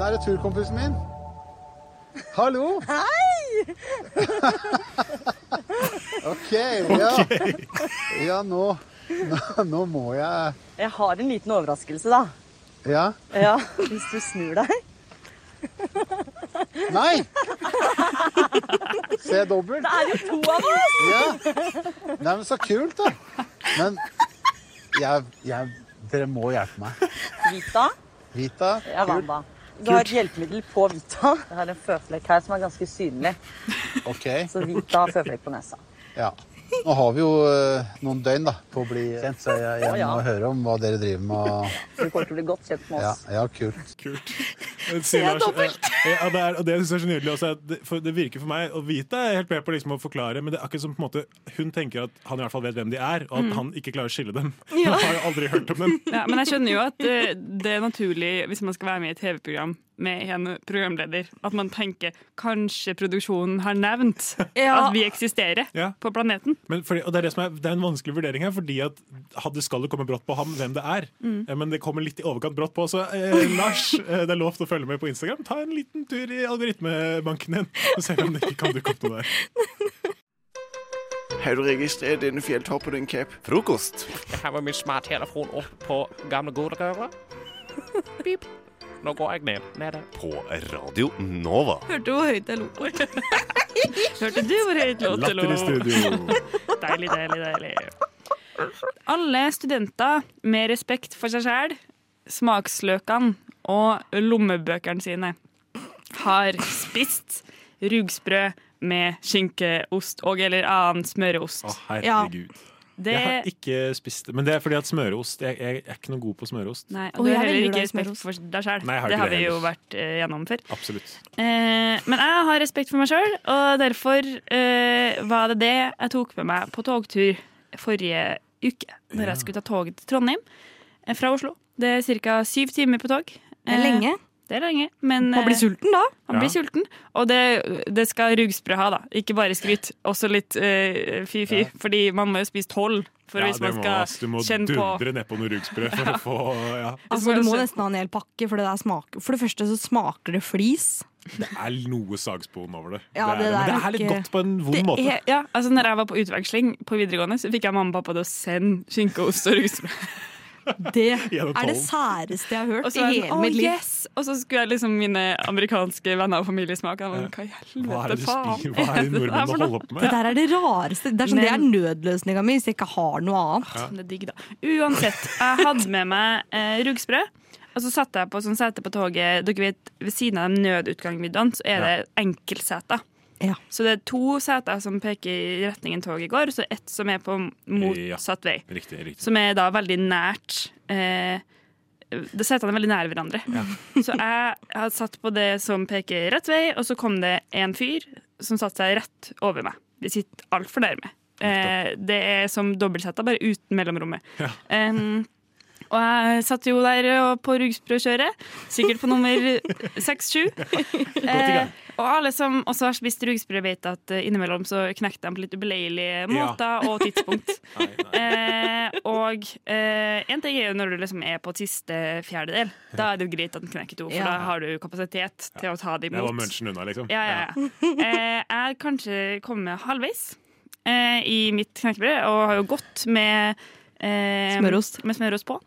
Speaker 21: Der er turkompisen min. Hallo.
Speaker 3: Hei!
Speaker 21: OK, ja. Ja, nå, nå, nå må jeg
Speaker 23: Jeg har en liten overraskelse, da.
Speaker 21: Ja.
Speaker 23: Ja, Hvis du snur deg.
Speaker 21: Nei! Se dobbelt.
Speaker 23: Det er jo to av oss!
Speaker 21: Ja. Nei, men så kult, da. Men jeg, jeg Dere må hjelpe meg.
Speaker 23: Vita.
Speaker 21: Vita,
Speaker 23: Jeg er
Speaker 21: kult.
Speaker 23: Wanda. Du har
Speaker 21: Kult.
Speaker 23: et hjelpemiddel på Vita. Jeg har en føflekk her som er ganske synlig.
Speaker 21: OK.
Speaker 23: Så Vita har føflekk på nesa.
Speaker 21: Ja. Nå har vi jo eh, noen døgn da, på å bli kjent, så jeg,
Speaker 23: Å,
Speaker 21: jeg
Speaker 23: ja.
Speaker 21: må høre om hva dere driver med.
Speaker 23: Så du kommer til å bli godt kjent med
Speaker 21: Ja,
Speaker 23: oss.
Speaker 21: ja kult.
Speaker 20: Kult. Sier Lars, eh, Ja, det er, og det synes jeg er så nydelig også, er at det, for det virker for meg, og Vita er helt med på liksom å forklare, men det er akkurat som på en måte, hun tenker at han i hvert fall vet hvem de er, og at
Speaker 19: Mm.
Speaker 20: han ikke klarer å skille dem.
Speaker 19: Ja.
Speaker 20: Han har jo aldri hørt om dem.
Speaker 19: Ja, men jeg skjønner jo at eh, det er naturlig, hvis man skal være med i et TV-program med en programleder, at man tenker kanskje produksjonen har nevnt
Speaker 18: Ja.
Speaker 19: at vi eksisterer
Speaker 20: Ja.
Speaker 19: på planeten.
Speaker 20: Men fordi, og det er, det, som er, det er en vanskelig vurdering her, fordi at hadde skal det komme brått på ham hvem det er,
Speaker 19: Mm.
Speaker 20: Eh, men det kommer litt i overkant brått på, så eh, Lars, eh, det er lov til å følge med på Instagram. Ta en liten tur i algoritmebanken din, og se om det ikke kan dukke opp noe der.
Speaker 24: Har du registrert denne fjelltoppen din, Cap? Frokost.
Speaker 25: Jeg har min smarttelefon opp på gamle godrøret. Pip. Nå går jeg ned med det.
Speaker 26: På Radio Nova.
Speaker 18: Hørte du hvor høyt jeg lo?
Speaker 19: Hørte du hvor høyt låt det lå?
Speaker 26: Latter i studio.
Speaker 19: Deilig, deilig, deilig. Alle studenter med respekt for seg sjæl, smaksløkene og lommebøkene sine har spist rugsprø med skinkeost og eller annen smøreost.
Speaker 20: Å, herregud.
Speaker 19: Det-
Speaker 20: Jeg har ikke spist det, men det er fordi at smøreost Jeg, jeg er ikke noe god på smøreost.
Speaker 19: Nei, og
Speaker 18: Å,
Speaker 19: du
Speaker 18: jeg
Speaker 19: har
Speaker 18: er
Speaker 19: heller
Speaker 18: veldig
Speaker 19: ikke
Speaker 18: glad i
Speaker 19: respekt for
Speaker 20: Um,
Speaker 19: deg sjæl.
Speaker 20: Nei, jeg har
Speaker 19: Det
Speaker 20: ikke
Speaker 19: har
Speaker 20: det
Speaker 19: vi jo
Speaker 20: heller.
Speaker 19: vært eh, gjennom før.
Speaker 20: Absolutt.
Speaker 19: Eh, men jeg har respekt for meg sjøl, og derfor eh, var det det jeg tok med meg på togtur forrige uke. Når jeg skulle ta toget til Trondheim eh, fra Oslo. Det er ca. syv timer på tog. Eh,
Speaker 18: Det er lenge.
Speaker 19: Det er lenge, men
Speaker 18: Man blir
Speaker 19: eh,
Speaker 18: sulten da.
Speaker 19: Man blir
Speaker 18: Ja.
Speaker 19: sulten. Og det, det skal rugsprø ha, da. Ikke bare skryt. Også litt eh, fy-fy. Fordi man må jo spise tolv for
Speaker 20: Ja,
Speaker 19: hvis man
Speaker 20: det må-
Speaker 19: skal
Speaker 20: ass, Du må
Speaker 19: kjenne på
Speaker 20: dundre nedpå noe rugsprø for å få ja.
Speaker 18: Altså, du må nesten ha en hel pakke, for det, der smaker. for det første så smaker det flis.
Speaker 20: Det er noe sagspon over det.
Speaker 18: Ja,
Speaker 20: det, er,
Speaker 18: det
Speaker 20: men
Speaker 18: der
Speaker 20: det
Speaker 18: er
Speaker 20: er litt
Speaker 18: ikke-
Speaker 20: godt på en vond
Speaker 19: Det
Speaker 20: måte.
Speaker 19: er- ja, altså når jeg var på utveksling på videregående, så fikk jeg mamma og pappa til å sende skinkeost og rugsprø.
Speaker 18: Det er det særeste jeg har hørt
Speaker 19: Og så
Speaker 18: i
Speaker 19: var jeg
Speaker 18: hele
Speaker 19: sånn,
Speaker 18: mitt
Speaker 19: «Å,
Speaker 18: liv.
Speaker 19: yes! Og så skulle jeg liksom mine amerikanske venner og familie smake. Jeg var sånn, Hva i
Speaker 20: Hva er
Speaker 19: helvete,
Speaker 20: det du
Speaker 19: faen?
Speaker 20: spiser? Hva er det
Speaker 19: det
Speaker 20: nordmenn
Speaker 19: for
Speaker 20: holder
Speaker 19: noe?»
Speaker 20: på
Speaker 18: Det
Speaker 20: med?
Speaker 18: der er det rareste. Det er, sånn, det er
Speaker 19: Men-
Speaker 18: nødløsninga mi hvis jeg ikke har noe annet.
Speaker 19: Ja. Det er digg, da. Uansett, jeg hadde med meg eh, rugsprø. Og så satt jeg på sånn sete på toget Dere vet, Ved siden av de nødutgangsmiddagen så er det enkeltseter. Så det er to seter som peker i retningen toget går, og så ett som er på motsatt vei.
Speaker 20: Riktig, riktig.
Speaker 19: Som er da veldig nært eh, det Setene er veldig nære hverandre. Så jeg hadde satt på det som peker rett vei, og så kom det en fyr som satte seg rett over meg. Vi sitter altfor nærme. Eh, det er som dobbeltsetta, bare uten mellomrommet.
Speaker 7: Ja.
Speaker 19: Em, og jeg satt jo der og på rugsprøkjøret, sikkert på nummer seks-sju. Eh, og alle som også har spist rugsprø, vet at eh, innimellom så knekte de på litt ubeleilige måter
Speaker 7: Ja.
Speaker 19: og tidspunkt. Eh, og eh, en ting er jo når du liksom er på siste fjerdedel. Da er det jo greit at den knekker to, for
Speaker 20: Ja.
Speaker 19: da har du kapasitet til å ta det
Speaker 20: Det
Speaker 19: imot.
Speaker 20: var munchen unna, liksom.
Speaker 19: Ja, ja, ja. Eh, jeg kanskje kommet halvveis eh, i mitt knekkebrød, og har jo gått med eh,
Speaker 18: Smørost.
Speaker 19: Med smørost på.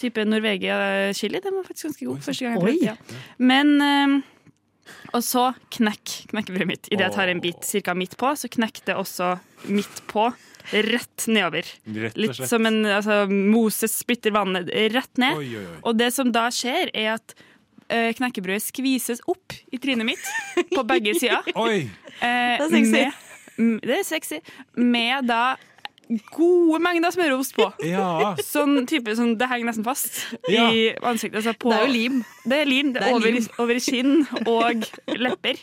Speaker 19: Type Norvegia chili. Den var faktisk ganske god. første gang jeg
Speaker 18: Oi.
Speaker 19: prøvde. Ja. Men eh, Og så knekk knekkebrødet mitt. Idet jeg tar en bit cirka midt på, så knekk det også midt på. Rett nedover.
Speaker 20: Rett og
Speaker 19: Litt
Speaker 20: slett.
Speaker 19: som en altså, Moses spytter vannet rett ned.
Speaker 20: Oi, oi, oi.
Speaker 19: Og det som da skjer, er at eh, knekkebrødet skvises opp i trynet mitt på begge sider.
Speaker 20: Oi!
Speaker 19: Eh,
Speaker 7: Det er sexy.
Speaker 19: Med, m- det er sexy. Med da gode mengder smørost på.
Speaker 20: Ja.
Speaker 19: Sånn type som det henger nesten fast
Speaker 7: Ja.
Speaker 19: i ansiktet. Altså på,
Speaker 18: Det er jo lim.
Speaker 19: Det er lim, det
Speaker 18: Det
Speaker 19: er
Speaker 18: er
Speaker 19: over,
Speaker 18: lim.
Speaker 19: over kinn og lepper.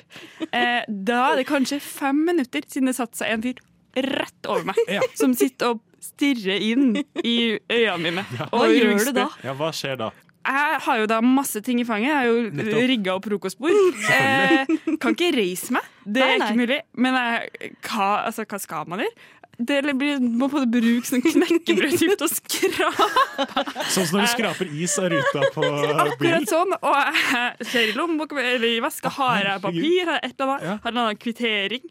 Speaker 19: Eh, da er det kanskje fem minutter siden det satte seg en fyr rett over meg, som sitter og stirrer inn i øynene mine. Og ruster.
Speaker 20: Ja, hva skjer da?
Speaker 19: Jeg har jo da masse ting i fanget. Jeg har jo
Speaker 20: Nettopp.
Speaker 19: rigga opp frokostbord. Eh,
Speaker 20: Selvfølgelig.
Speaker 19: kan ikke reise meg. Det er ikke mulig. Men jeg, hva, altså, hva skal man gjøre? Det blir, må på en måte bruke sånn knekkebrød til å skrape.
Speaker 20: Sånn som når du skraper is av ruta på bilen.
Speaker 19: Akkurat sånn. Og jeg ser i lommeboka eller i veska,
Speaker 20: Ah,
Speaker 19: har jeg papir, har jeg et eller annet, har en eller annen kvittering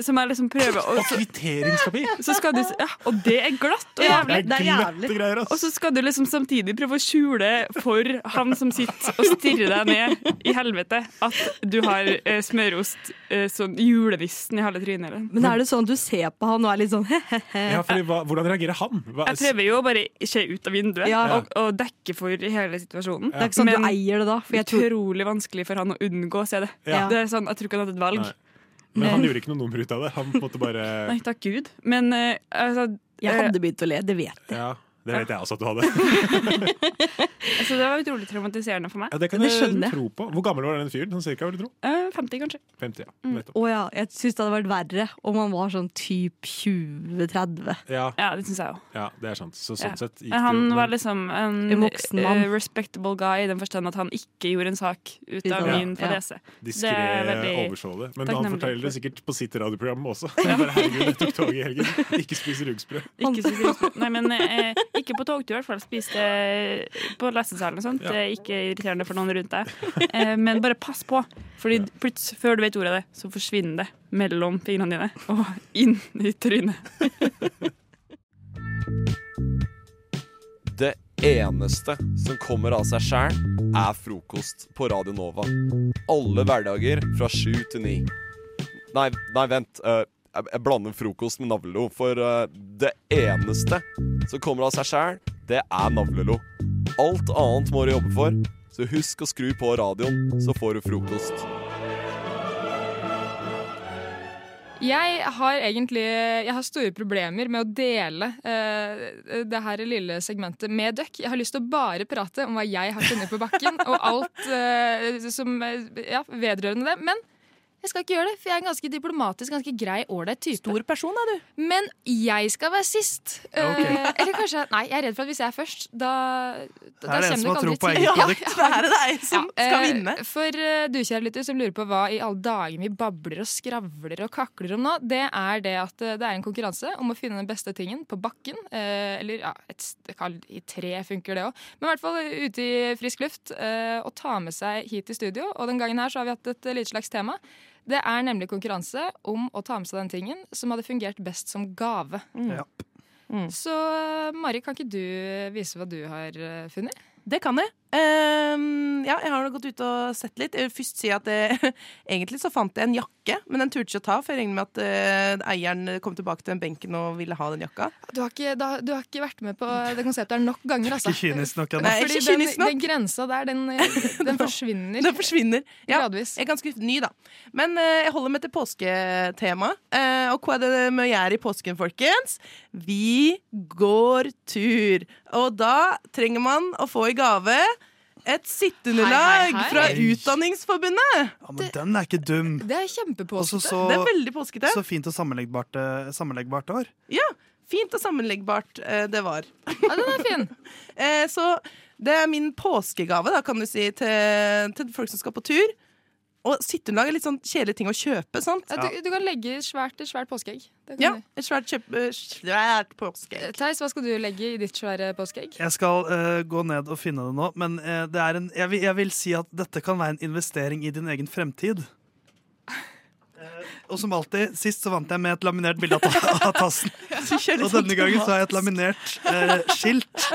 Speaker 19: som jeg liksom prøver å så-
Speaker 20: Kvitteringspapir!
Speaker 19: så skal du, ja, og det er glatt og
Speaker 20: Ja,
Speaker 19: jævlig.
Speaker 20: det er glatte greier, ass.
Speaker 19: Og så skal du liksom samtidig prøve å skjule for han som sitter og stirrer deg ned i helvete, at du har eh, smørost eh, sånn julenissen i halve trynet. eller?
Speaker 18: Men er det sånn at du ser på han og er litt sånn he-he-he?
Speaker 20: Ja, fordi, hva, hvordan reagerer han? Hva,
Speaker 19: Eh, Jeg prøver jo å bare se ut av vinduet
Speaker 18: Ja.
Speaker 19: og, og dekke for hele situasjonen.
Speaker 18: Det er ikke sånn at du eier det da. For jeg tror
Speaker 19: utrolig vanskelig for han å unngå å se det.
Speaker 20: Ja.
Speaker 19: Det er sånn, Jeg tror ikke han hadde et valg. Eh,
Speaker 20: Nei. Men han gjorde ikke noe nummer ut av det. Han måtte bare
Speaker 19: Nei, takk Gud. Men eh, altså
Speaker 20: Jeg hadde
Speaker 18: begynt å le, det vet
Speaker 20: Ja, det vet jeg også at du hadde.
Speaker 19: Altså, det var utrolig traumatiserende for meg.
Speaker 20: Ja, det kan jeg tro på. Hvor gammel var den fyren? Sånn cirka, vil du tro?
Speaker 19: Eh, 50, kanskje.
Speaker 20: 50, ja.
Speaker 18: Mm.
Speaker 20: Nettopp.
Speaker 18: Å ja, jeg syns det hadde vært verre om han var sånn typ 20-30.
Speaker 20: Ja.
Speaker 19: Ja, det syns jeg òg.
Speaker 20: ja, det er sant. Så
Speaker 19: Ja.
Speaker 20: sånn sett gikk
Speaker 19: Men han
Speaker 20: det jo
Speaker 19: var liksom en,
Speaker 18: En voksen mann.
Speaker 19: eh, respectable guy i den forstand at han ikke gjorde en sak ut av
Speaker 20: Ja.
Speaker 19: min fadese. Det
Speaker 20: Diskré
Speaker 19: er veldig
Speaker 20: oversåle. Men han
Speaker 19: takknemlig
Speaker 20: forteller det
Speaker 19: for.
Speaker 20: sikkert på sitt radioprogram også. Bare, herregud, jeg tok toget i helgen. Ikke spis rugsprø.
Speaker 19: Ikke, så grusomt. Nei, men, eh, ikke på togtur, i hvert fall. Spiste på lesesalen og sånt.
Speaker 20: Ja.
Speaker 19: Det er Ikke irriterende for noen rundt deg. Eh, men bare pass på, Fordi plutselig, før du vet ordet av det, så forsvinner det mellom fingrene dine og inn i trynet.
Speaker 2: Det eneste som kommer av seg sjæl, er frokost på Radio Nova. Alle hverdager fra sju til ni. Nei, nei vent. eh, jeg jeg blander frokost med navlelo. For eh, det eneste som kommer av seg sjæl, det er navlelo. Alt annet må du jobbe for, så husk å skru på radioen, så får du frokost.
Speaker 4: Jeg har egentlig jeg har store problemer med å dele eh, det her lille segmentet med døkk. Jeg har lyst til å bare prate om hva jeg har funnet på bakken, og alt eh, som eh, ja, vedrørende det. Men jeg skal ikke gjøre det, for jeg er en ganske diplomatisk, ganske grei, ålreit type. Stor person er du. Men jeg skal være sist.
Speaker 7: Ja, ok.
Speaker 4: Eh, eller kanskje Nei, jeg er redd for at hvis jeg er først, da da,
Speaker 7: Her er det en som har tro på
Speaker 4: kommer det
Speaker 7: eget
Speaker 4: ti-
Speaker 7: produkt.
Speaker 4: Ja,
Speaker 7: Det er det deg som
Speaker 4: eh,
Speaker 7: skal vinne.
Speaker 4: For eh, du kjære lytter som lurer på hva i alle dager vi babler og skravler og kakler om nå, det er det at eh, det er en konkurranse om å finne den beste tingen på bakken. eh, Eller ja, et, st- det kan- i tre funker det òg. Men i hvert fall ute i frisk luft eh, og ta med seg hit i studio. Og den gangen her så har vi hatt et eh, lite slags tema. Det er nemlig konkurranse om å ta med seg den tingen som hadde fungert best som gave.
Speaker 7: Ja.
Speaker 4: Mm. Så eh, Mari, kan ikke du vise hva du har eh, funnet?
Speaker 6: Det kan jeg. Ehm, ja, jeg har nå gått ut og sett litt. Jeg vil først si at eh, Egentlig så fant jeg en jakke, men den turte jeg ikke å ta, for jeg regner med at eh, eieren kom tilbake til den benken og ville ha den jakka.
Speaker 4: Du har, ikke, da, du har ikke vært med på det konseptet her nok ganger, altså.
Speaker 6: Ikke kynisk nok ennå.
Speaker 4: Fordi
Speaker 6: Nei, ikke
Speaker 4: den,
Speaker 6: kynisk nok.
Speaker 4: den grensa der, den, den forsvinner.
Speaker 6: Den forsvinner. Ja, Jeg er ganske ny, da. Men eh, jeg holder meg til påsketema. Eh, og hva er det vi gjør i påsken, folkens? Vi går tur. Og da trenger man å få i gave et
Speaker 12: Hei,
Speaker 6: sitteunderlag
Speaker 12: hei, hei.
Speaker 6: fra
Speaker 12: Oi.
Speaker 6: Utdanningsforbundet.
Speaker 12: Ja, men den er ikke dum.
Speaker 4: Det er kjempepåskete.
Speaker 12: Også så,
Speaker 6: Det er veldig påskete.
Speaker 12: Så fint og sammenleggbart, eh, sammenleggbart det var.
Speaker 6: Ja, fint og sammenleggbart eh, det var. Eh,
Speaker 4: Ja, den er fin.
Speaker 6: så det er min påskegave, da, kan du si, til, til folk som skal på tur. Og sitteunderlag er litt sånn kjedelig ting å kjøpe, sant?
Speaker 4: Ja, du, du kan legge i svært, et svært påskeegg. Det kan
Speaker 6: Ja,
Speaker 4: du. Eh,
Speaker 6: et svært, kjøp, eh, svært påskeegg.
Speaker 4: Theis, hva skal du legge i ditt svære påskeegg?
Speaker 12: Jeg skal eh, gå ned og finne det nå, men eh, det er en, jeg, vil, jeg vil si at dette kan være en investering i din egen fremtid. Eh, og som alltid, sist så vant jeg med et laminert bilde av, ta av tassen.
Speaker 6: kjører
Speaker 12: Og
Speaker 6: sånn
Speaker 12: denne gangen så har jeg et laminert eh, skilt.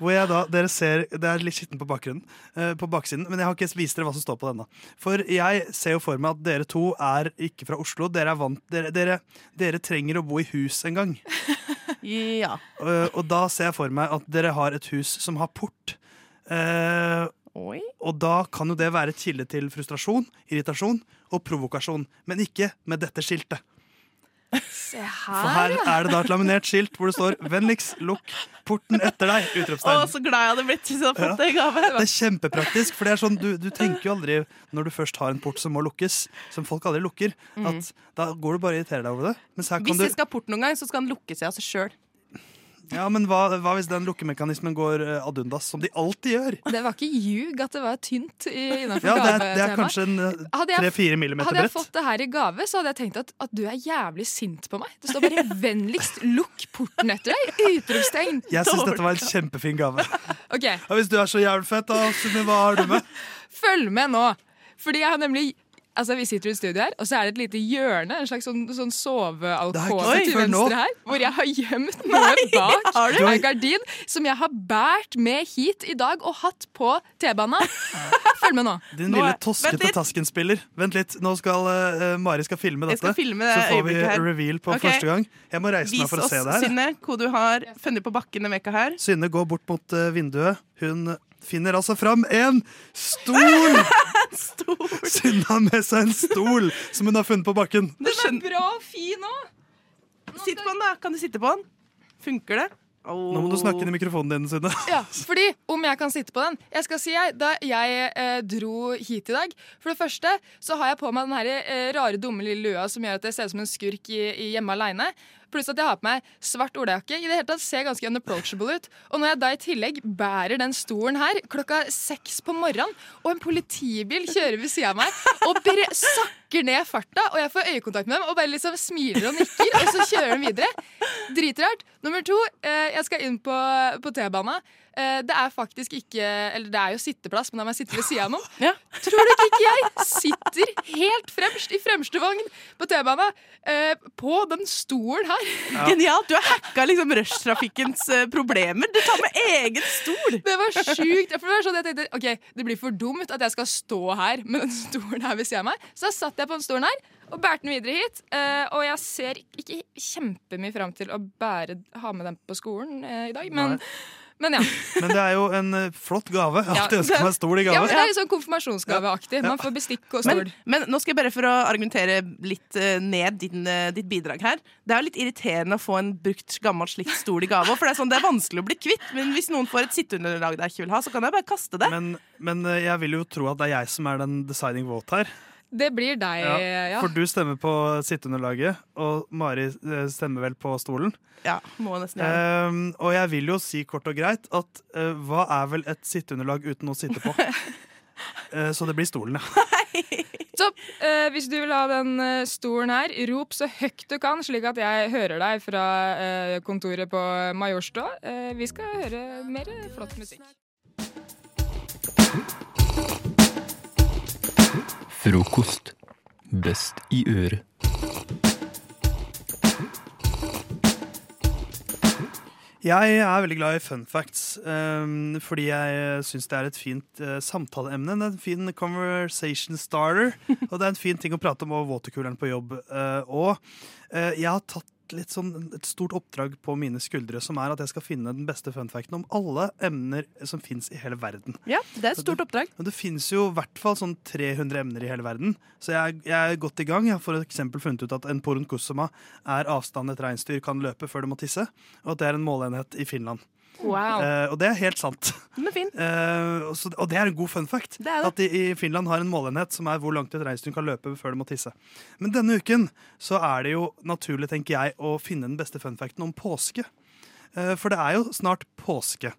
Speaker 12: Hvor jeg da, dere ser, Det er litt skitten på, bakgrunnen, eh, på baksiden, men jeg har ikke vist dere hva som står på denne. For jeg ser jo for meg at dere to er ikke fra Oslo. Dere, er vant, dere, dere, dere trenger å bo i hus en gang.
Speaker 6: Ja.
Speaker 12: Eh, og da ser jeg for meg at dere har et hus som har port. Eh, og da kan jo det være et kilde til frustrasjon, irritasjon og provokasjon. Men ikke med dette skiltet.
Speaker 4: Se her,
Speaker 12: For her
Speaker 6: ja.
Speaker 12: er det da et laminert skilt hvor det står 'Vennligst lukk porten etter deg!'
Speaker 6: Å,
Speaker 12: Utropstegn.
Speaker 6: så glad jeg hadde blitt hvis jeg hadde
Speaker 12: Ja.
Speaker 6: fått det i gave.
Speaker 12: Det er kjempepraktisk, for det er sånn, du, du tenker jo aldri når du først har en port som må lukkes, som folk aldri lukker, at da går du bare og irriterer deg over det. Mens her kan
Speaker 6: Hvis
Speaker 12: du
Speaker 6: jeg skal ha port noen gang, så skal den lukke seg av seg sjøl.
Speaker 12: Ja, men hva, hva hvis den lukkemekanismen går eh, ad undas, som de alltid gjør?
Speaker 4: Det var ikke ljug at det var tynt innafor
Speaker 12: Ja, det er, det er
Speaker 4: gavetemaet.
Speaker 12: kanskje en eh,
Speaker 4: Hadde jeg-
Speaker 12: 3-4 millimeter
Speaker 4: Hadde jeg
Speaker 12: bredt.
Speaker 4: fått det her i gave, så hadde jeg tenkt at, at du er jævlig sint på meg. Det står bare 'vennligst lukk porten etter deg'! Utropstegn!
Speaker 12: Jeg syns dette var en kjempefin gave.
Speaker 4: Ok,
Speaker 12: Og hvis du er så jævlig fett, da, Sunniva, hva har du med?
Speaker 4: Følg med nå! Fordi jeg har nemlig Altså, Vi sitter i et studio her, og så er det et lite hjørne, en slags sånn, sånn sovealkove
Speaker 6: ikke sett
Speaker 4: til
Speaker 6: før nå.
Speaker 4: venstre her, hvor jeg har gjemt noe bak
Speaker 6: har du?
Speaker 4: en gardin som jeg har båret med hit i dag og hatt på T-banen. Følg med nå.
Speaker 12: Din lille toskete taskenspiller. Vent litt, nå skal eh, Mari skal filme
Speaker 6: Jeg
Speaker 12: dette.
Speaker 6: skal filme det
Speaker 12: så får vi
Speaker 6: øyeblikket her.
Speaker 12: reveal på
Speaker 6: Ok.
Speaker 12: første gang. Jeg må reise
Speaker 6: Vis
Speaker 12: meg for å
Speaker 6: oss,
Speaker 12: se det her. jeg.
Speaker 6: Synne, hva du har funnet på bakken denne veka her.
Speaker 12: Synne går bort mot eh, vinduet. Hun finner altså fram en stol! Synne har med seg en stol som hun har funnet på bakken.
Speaker 6: Den er bra og fin òg! Sitt på den, da. Kan du sitte på den? Funker det?
Speaker 12: Nå må du snakke inn i mikrofonen din, Synne.
Speaker 4: Ja, fordi om jeg kan sitte på den Jeg skal si jeg, da jeg eh, dro hit i dag For det første så har jeg på meg den her eh, rare dumme lille lua Som gjør at jeg ser ut som en skurk i, i hjemme alene Pluss at jeg har på meg svart olejakke I det hele tatt ser jeg ganske unapproachable ut Og når jeg da i tillegg bærer den stolen her Klokka seks på morgenen Og en politibil kjører ved siden av meg Og bre sakker ned farta Og jeg får øyekontakt med dem Og bare liksom smiler og nikker Og så kjører de videre Dritrart. Nummer to, eh, jeg skal inn på, på T-bana. Eh, det er faktisk ikke Eller det er jo sitteplass, men da må jeg sitte ved sida av noen. Tror du ikke ikke jeg sitter helt fremst i fremste vogn på T-bana eh, på den stolen her?
Speaker 6: Ja. Genialt! Du har hacka liksom rushtrafikkens eh, problemer. Du tar med egen stol!
Speaker 4: Det var sjukt. For det var sånn jeg tenkte Ok, det blir for dumt at jeg skal stå her med den stolen her ved siden av meg. Så da satt jeg på den stolen her og bærte den videre hit. eh, og jeg ser ikke kjempemye fram til å bære, ha med den på skolen eh, i dag, men,
Speaker 12: Nei.
Speaker 4: men ja.
Speaker 12: Men det er jo en eh, flott gave. Jeg har
Speaker 4: Ja,
Speaker 12: alltid ønsket
Speaker 4: det-
Speaker 12: meg en stol i gave.
Speaker 4: Ja, men Det er litt sånn konfirmasjonsgaveaktig. Man
Speaker 6: Ja.
Speaker 4: får bestikk og
Speaker 6: Men,
Speaker 4: stol.
Speaker 6: men nå skal jeg bare for å argumentere litt eh, ned din, eh, ditt bidrag her. Det er jo litt irriterende å få en brukt, gammel slikt stol i gave. For det er, sånn, det er vanskelig å bli kvitt. Men hvis noen får et sitteunderlag de ikke vil ha, så kan jeg bare kaste det.
Speaker 12: Men, men eh, jeg vil jo tro at det er jeg som er den deciding vote her.
Speaker 4: Det blir deg,
Speaker 12: Ja,
Speaker 6: Eh,
Speaker 4: ja.
Speaker 12: For du stemmer på sitteunderlaget, og Mari eh, stemmer vel på stolen.
Speaker 6: Ja, må nesten gjøre det.
Speaker 12: Ehm, og jeg vil jo si kort og greit at eh, hva er vel et sitteunderlag uten å sitte på? Eh, så det blir stolen, ja.
Speaker 4: Topp! Eh, hvis du vil ha den eh, stolen her, rop så høyt du kan, slik at jeg hører deg fra eh, kontoret på Majorstua. Eh, vi skal høre mer eh, flott musikk.
Speaker 5: Frokost. Best i øret.
Speaker 12: Jeg er veldig glad i fun facts, ehm, fordi jeg syns det er et fint eh, samtaleemne. Det er en fin conversation starter, og det er en fin ting å prate om over watercooleren på jobb. Eh, og eh, jeg har tatt litt sånn et stort oppdrag på mine skuldre, som er at jeg skal finne den beste fun facten om alle emner som fins i hele verden.
Speaker 4: Ja, det er et stort oppdrag.
Speaker 12: Og det finnes jo i hvert fall sånn 300 emner i hele verden, så jeg, jeg er godt i gang. Jeg har for eksempel funnet ut at en poronkusoma er avstanden et reinsdyr kan løpe før det må tisse, og at det er en måleenhet i Finland.
Speaker 4: Wow.
Speaker 12: Eh, og det er helt sant.
Speaker 4: Men fin.
Speaker 12: Eh, og, så, og det er en god fun fact.
Speaker 4: Det er det.
Speaker 12: At de i Finland har en måleenhet som er hvor langt et reinsdyr kan løpe før det må tisse. Men denne uken så er det jo naturlig, tenker jeg, å finne den beste fun facten om påske. Eh, for det er jo snart påske.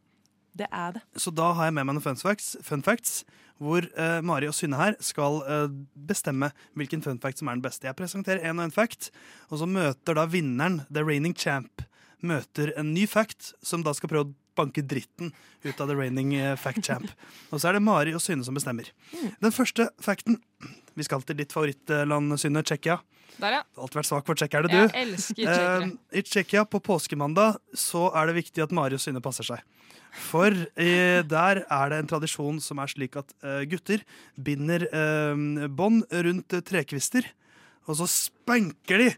Speaker 4: Det er det.
Speaker 12: Så da har jeg med meg noen fun facts, fun facts hvor eh, Mari og Synne her skal eh, bestemme hvilken fun fact som er den beste. Jeg presenterer en og en fact, og så møter da vinneren, the reigning champ, møter en ny fact, som da skal prøve å banke dritten ut av the reigning eh, fact champ. Og så er det Mari og Synne som bestemmer. Den første facten Vi skal til ditt favorittland, Synne, Tsjekkia.
Speaker 5: Der, ja.
Speaker 12: Du har Alltid vært svak for tsjekkerne, du.
Speaker 5: Jeg elsker tsjekkere.
Speaker 12: Eh, I Tsjekkia på påskemandag så er det viktig at Mari og Synne passer seg. For eh, der er det en tradisjon som er slik at eh, gutter binder eh, bånd rundt eh, trekvister, og så spenker de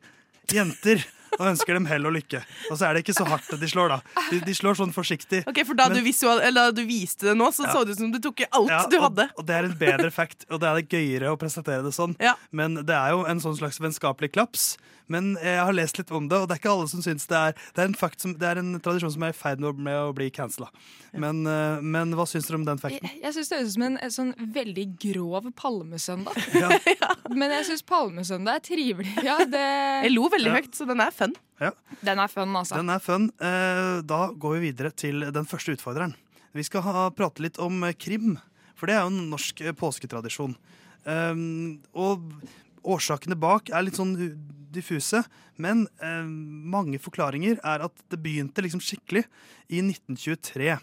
Speaker 12: jenter og ønsker dem hell og lykke. Og så er det ikke så hardt de slår, da. De, de slår sånn forsiktig.
Speaker 4: Ok, For da,
Speaker 12: Men-
Speaker 4: du, visual, eller da du viste det nå, så
Speaker 12: Ja.
Speaker 4: så det ut som du tok i alt
Speaker 12: Ja,
Speaker 4: du
Speaker 12: og-
Speaker 4: hadde.
Speaker 12: Og det er en bedre fact, og det er gøyere å presentere det sånn. Men det er jo en sånn slags vennskapelig klaps. Men jeg har lest litt om det, og det er ikke alle som syns det er Det er en, fact som, det er en tradisjon som er i ferd med å- med å bli cancela. Men, eh, men hva syns dere om den facten?
Speaker 5: Jeg, jeg syns det høres ut som en, en sånn veldig grov palmesøndag. Men jeg syns palmesøndag er trivelig. Ja, det...
Speaker 4: Jeg lo veldig
Speaker 12: Ja.
Speaker 4: høyt, så den er fun.
Speaker 12: Ja.
Speaker 5: Den er fun, altså.
Speaker 12: Den er fun. Eh, Da går vi videre til den første utfordreren. Vi skal ha, prate litt om eh, krim, for det er jo en norsk eh, påsketradisjon. Um, og årsakene bak er litt sånn u- diffuse, men eh, mange forklaringer er at det begynte liksom skikkelig i 1923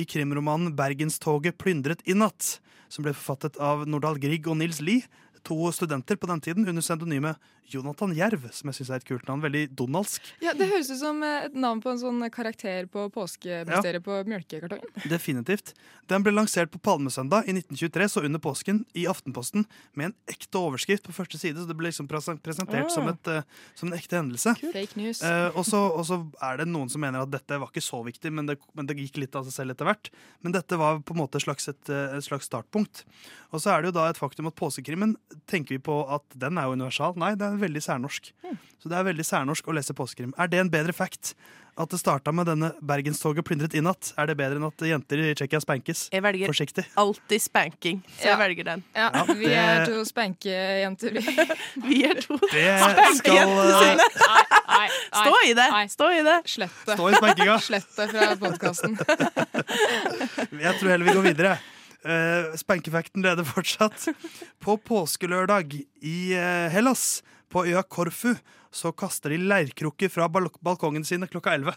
Speaker 12: i krimromanen 'Bergenstoget plyndret i natt', som ble forfattet av Nordahl Grieg og Nils Lie, to studenter på den tiden under pseudonymet Jonathan Jerv, som jeg syns er et kult navn. Veldig donaldsk.
Speaker 5: Ja, Det høres ut som eh, et navn på en sånn karakter på påskemysteriet på melkekartongen.
Speaker 12: Definitivt. Den ble lansert på Palmesøndag i 1923, så under påsken, i Aftenposten, med en ekte overskrift på første side, så det ble liksom presen- presentert
Speaker 5: Ah.
Speaker 12: som, et, eh, som en ekte hendelse.
Speaker 5: Fake news.
Speaker 12: Eh, og så og så er det noen som mener at dette var ikke så viktig, men det, men det gikk litt av seg selv etter hvert. Men dette var på en måte slags et, eh, et slags startpunkt. Og så er det jo da et faktum at påskekrimmen tenker vi på at den er jo universal. Nei, det er veldig særnorsk.
Speaker 4: Hmm.
Speaker 12: Så det er veldig særnorsk å lese påskekrim. Er det en bedre fact? At det starta med denne 'Bergenstoget plyndret i natt'? Er det bedre enn at jenter i Tsjekkia spankes?
Speaker 4: Jeg velger
Speaker 12: Forsiktig.
Speaker 4: alltid spanking, så jeg velger den.
Speaker 5: Ja,
Speaker 12: Ja,
Speaker 5: Vi er
Speaker 12: det-
Speaker 5: to spankejenter, vi.
Speaker 4: vi er to
Speaker 12: Det skal eh,
Speaker 4: Stå i det! Stå i det.
Speaker 5: Slett det.
Speaker 12: Stå i spankinga.
Speaker 5: Slett det fra podkasten.
Speaker 12: Jeg tror heller vi går videre. Uh, Spankefacten leder fortsatt. På påskelørdag i eh, Hellas, på øya Korfu, så kaster de leirkrukker fra bal balkongen sine klokka 11.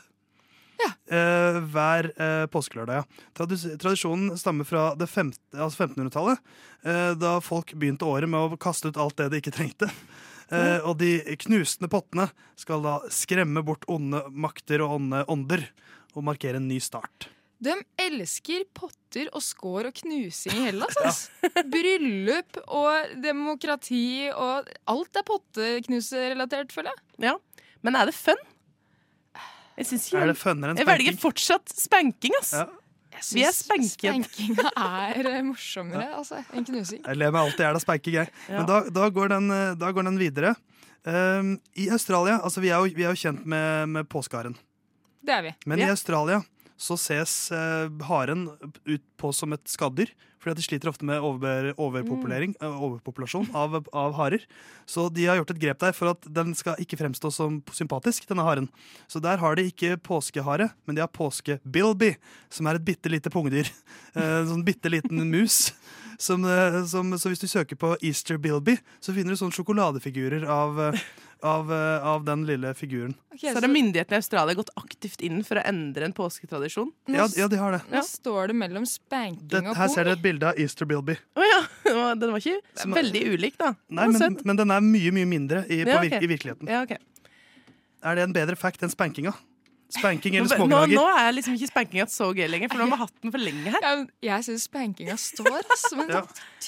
Speaker 12: Eh, hver eh, påskelørdag, ja. Tradis tradisjonen stammer fra det femte, altså 1500-tallet, eh, da folk begynte året med å kaste ut alt det de ikke trengte. Eh, og de knusende pottene skal da skremme bort onde makter og onde ånder, og markere en ny start.
Speaker 5: De elsker potter og skår og knusing i Hellas. ass. Bryllup og demokrati og alt er potteknuserelatert, føler jeg.
Speaker 4: Ja. Men er det fun? Jeg syns ikke
Speaker 5: Er det funnere enn
Speaker 4: Jeg
Speaker 5: spanking?
Speaker 4: velger fortsatt spanking, ass.
Speaker 12: Ja.
Speaker 4: Vi er spanket.
Speaker 5: Spankinga er eh, morsommere altså, enn knusing.
Speaker 12: Jeg ler meg alltid i hjel av spanking, jeg.
Speaker 5: Ja.
Speaker 12: Men da, da, går den, eh, da går den videre. Ehm, I Australia altså Vi er jo, vi er jo kjent med, med påskeharen.
Speaker 5: Det er vi.
Speaker 12: Men i
Speaker 5: Ja.
Speaker 12: Australia så ses eh, haren ut på som et skaddyr. Fordi at de sliter ofte med over, overpopulering, eh, overpopulasjon av, av harer. Så de har gjort et grep der for at den skal ikke fremstå som sympatisk. denne haren. Så der har de ikke påskehare, men de har påskebilby, som er et bitte lite pungdyr. Eh, En sånn bitte liten mus. Som, eh, som, så hvis du søker på Easter Bilby, så finner du sånne sjokoladefigurer av, eh, av, eh, av den lille figuren.
Speaker 4: så har myndighetene i Australia gått aktivt inn for å endre en påsketradisjon.
Speaker 12: Nå Ja, s- ja, de har det.
Speaker 5: Nå står det mellom spanking
Speaker 12: Dette,
Speaker 5: og
Speaker 12: her ser
Speaker 5: pung.
Speaker 12: dere et bilde av Easter Bilby.
Speaker 4: Å ja. Den var ikke
Speaker 12: Den var-
Speaker 4: veldig ulik, da.
Speaker 12: Nei,
Speaker 4: Den var
Speaker 12: men,
Speaker 4: søt.
Speaker 12: men den er mye mye mindre i, på
Speaker 4: Ja,
Speaker 12: vir
Speaker 4: ok.
Speaker 12: i virkeligheten.
Speaker 4: Ja, ok.
Speaker 12: Er det en bedre fact enn spankinga? Spanking eller
Speaker 6: Nå, nå, nå
Speaker 12: smågnager.
Speaker 6: er liksom ikke spankinga så gøy lenger, for nå har vi hatt den for lenge her.
Speaker 4: jeg syns spankinga står, altså. Men
Speaker 12: Ja.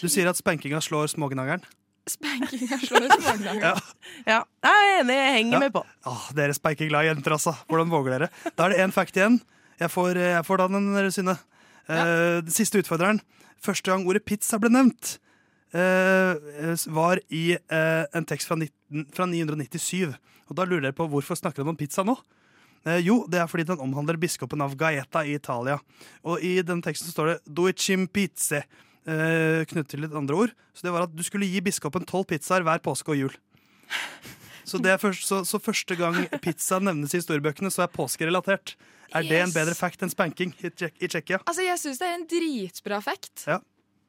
Speaker 12: Du sier at spankinga slår smågnageren?
Speaker 4: spankinga slår smågnageren.
Speaker 12: Ja.
Speaker 6: Jeg er enig, jeg
Speaker 12: Ja.
Speaker 6: henger med på.
Speaker 12: Åh, dere speikerglade jenter, altså. Hvordan våger dere? Da er det én fact igjen. Jeg får, eh, jeg får da den, dere, Synne. Eh, den siste utfordreren. Første gang ordet pizza ble nevnt, eh, var i eh, en tekst fra, 19, fra 997. Og da lurer dere på hvorfor snakker de om pizza nå? Eh, jo, det er fordi den omhandler biskopen av Gaeta i Italia. Og i den teksten så står det 'duicim pizze', eh, knyttet til litt andre ord. Så det var at du skulle gi biskopen tolv pizzaer hver påske og jul. Så, det er først, så, så første gang pizza nevnes i historiebøkene, så er påskerelatert. Er det en
Speaker 4: Yes.
Speaker 12: bedre fact enn spanking i Tsjek- i Tsjekkia?
Speaker 4: Altså, jeg syns det er en dritbra fact.
Speaker 12: Ja.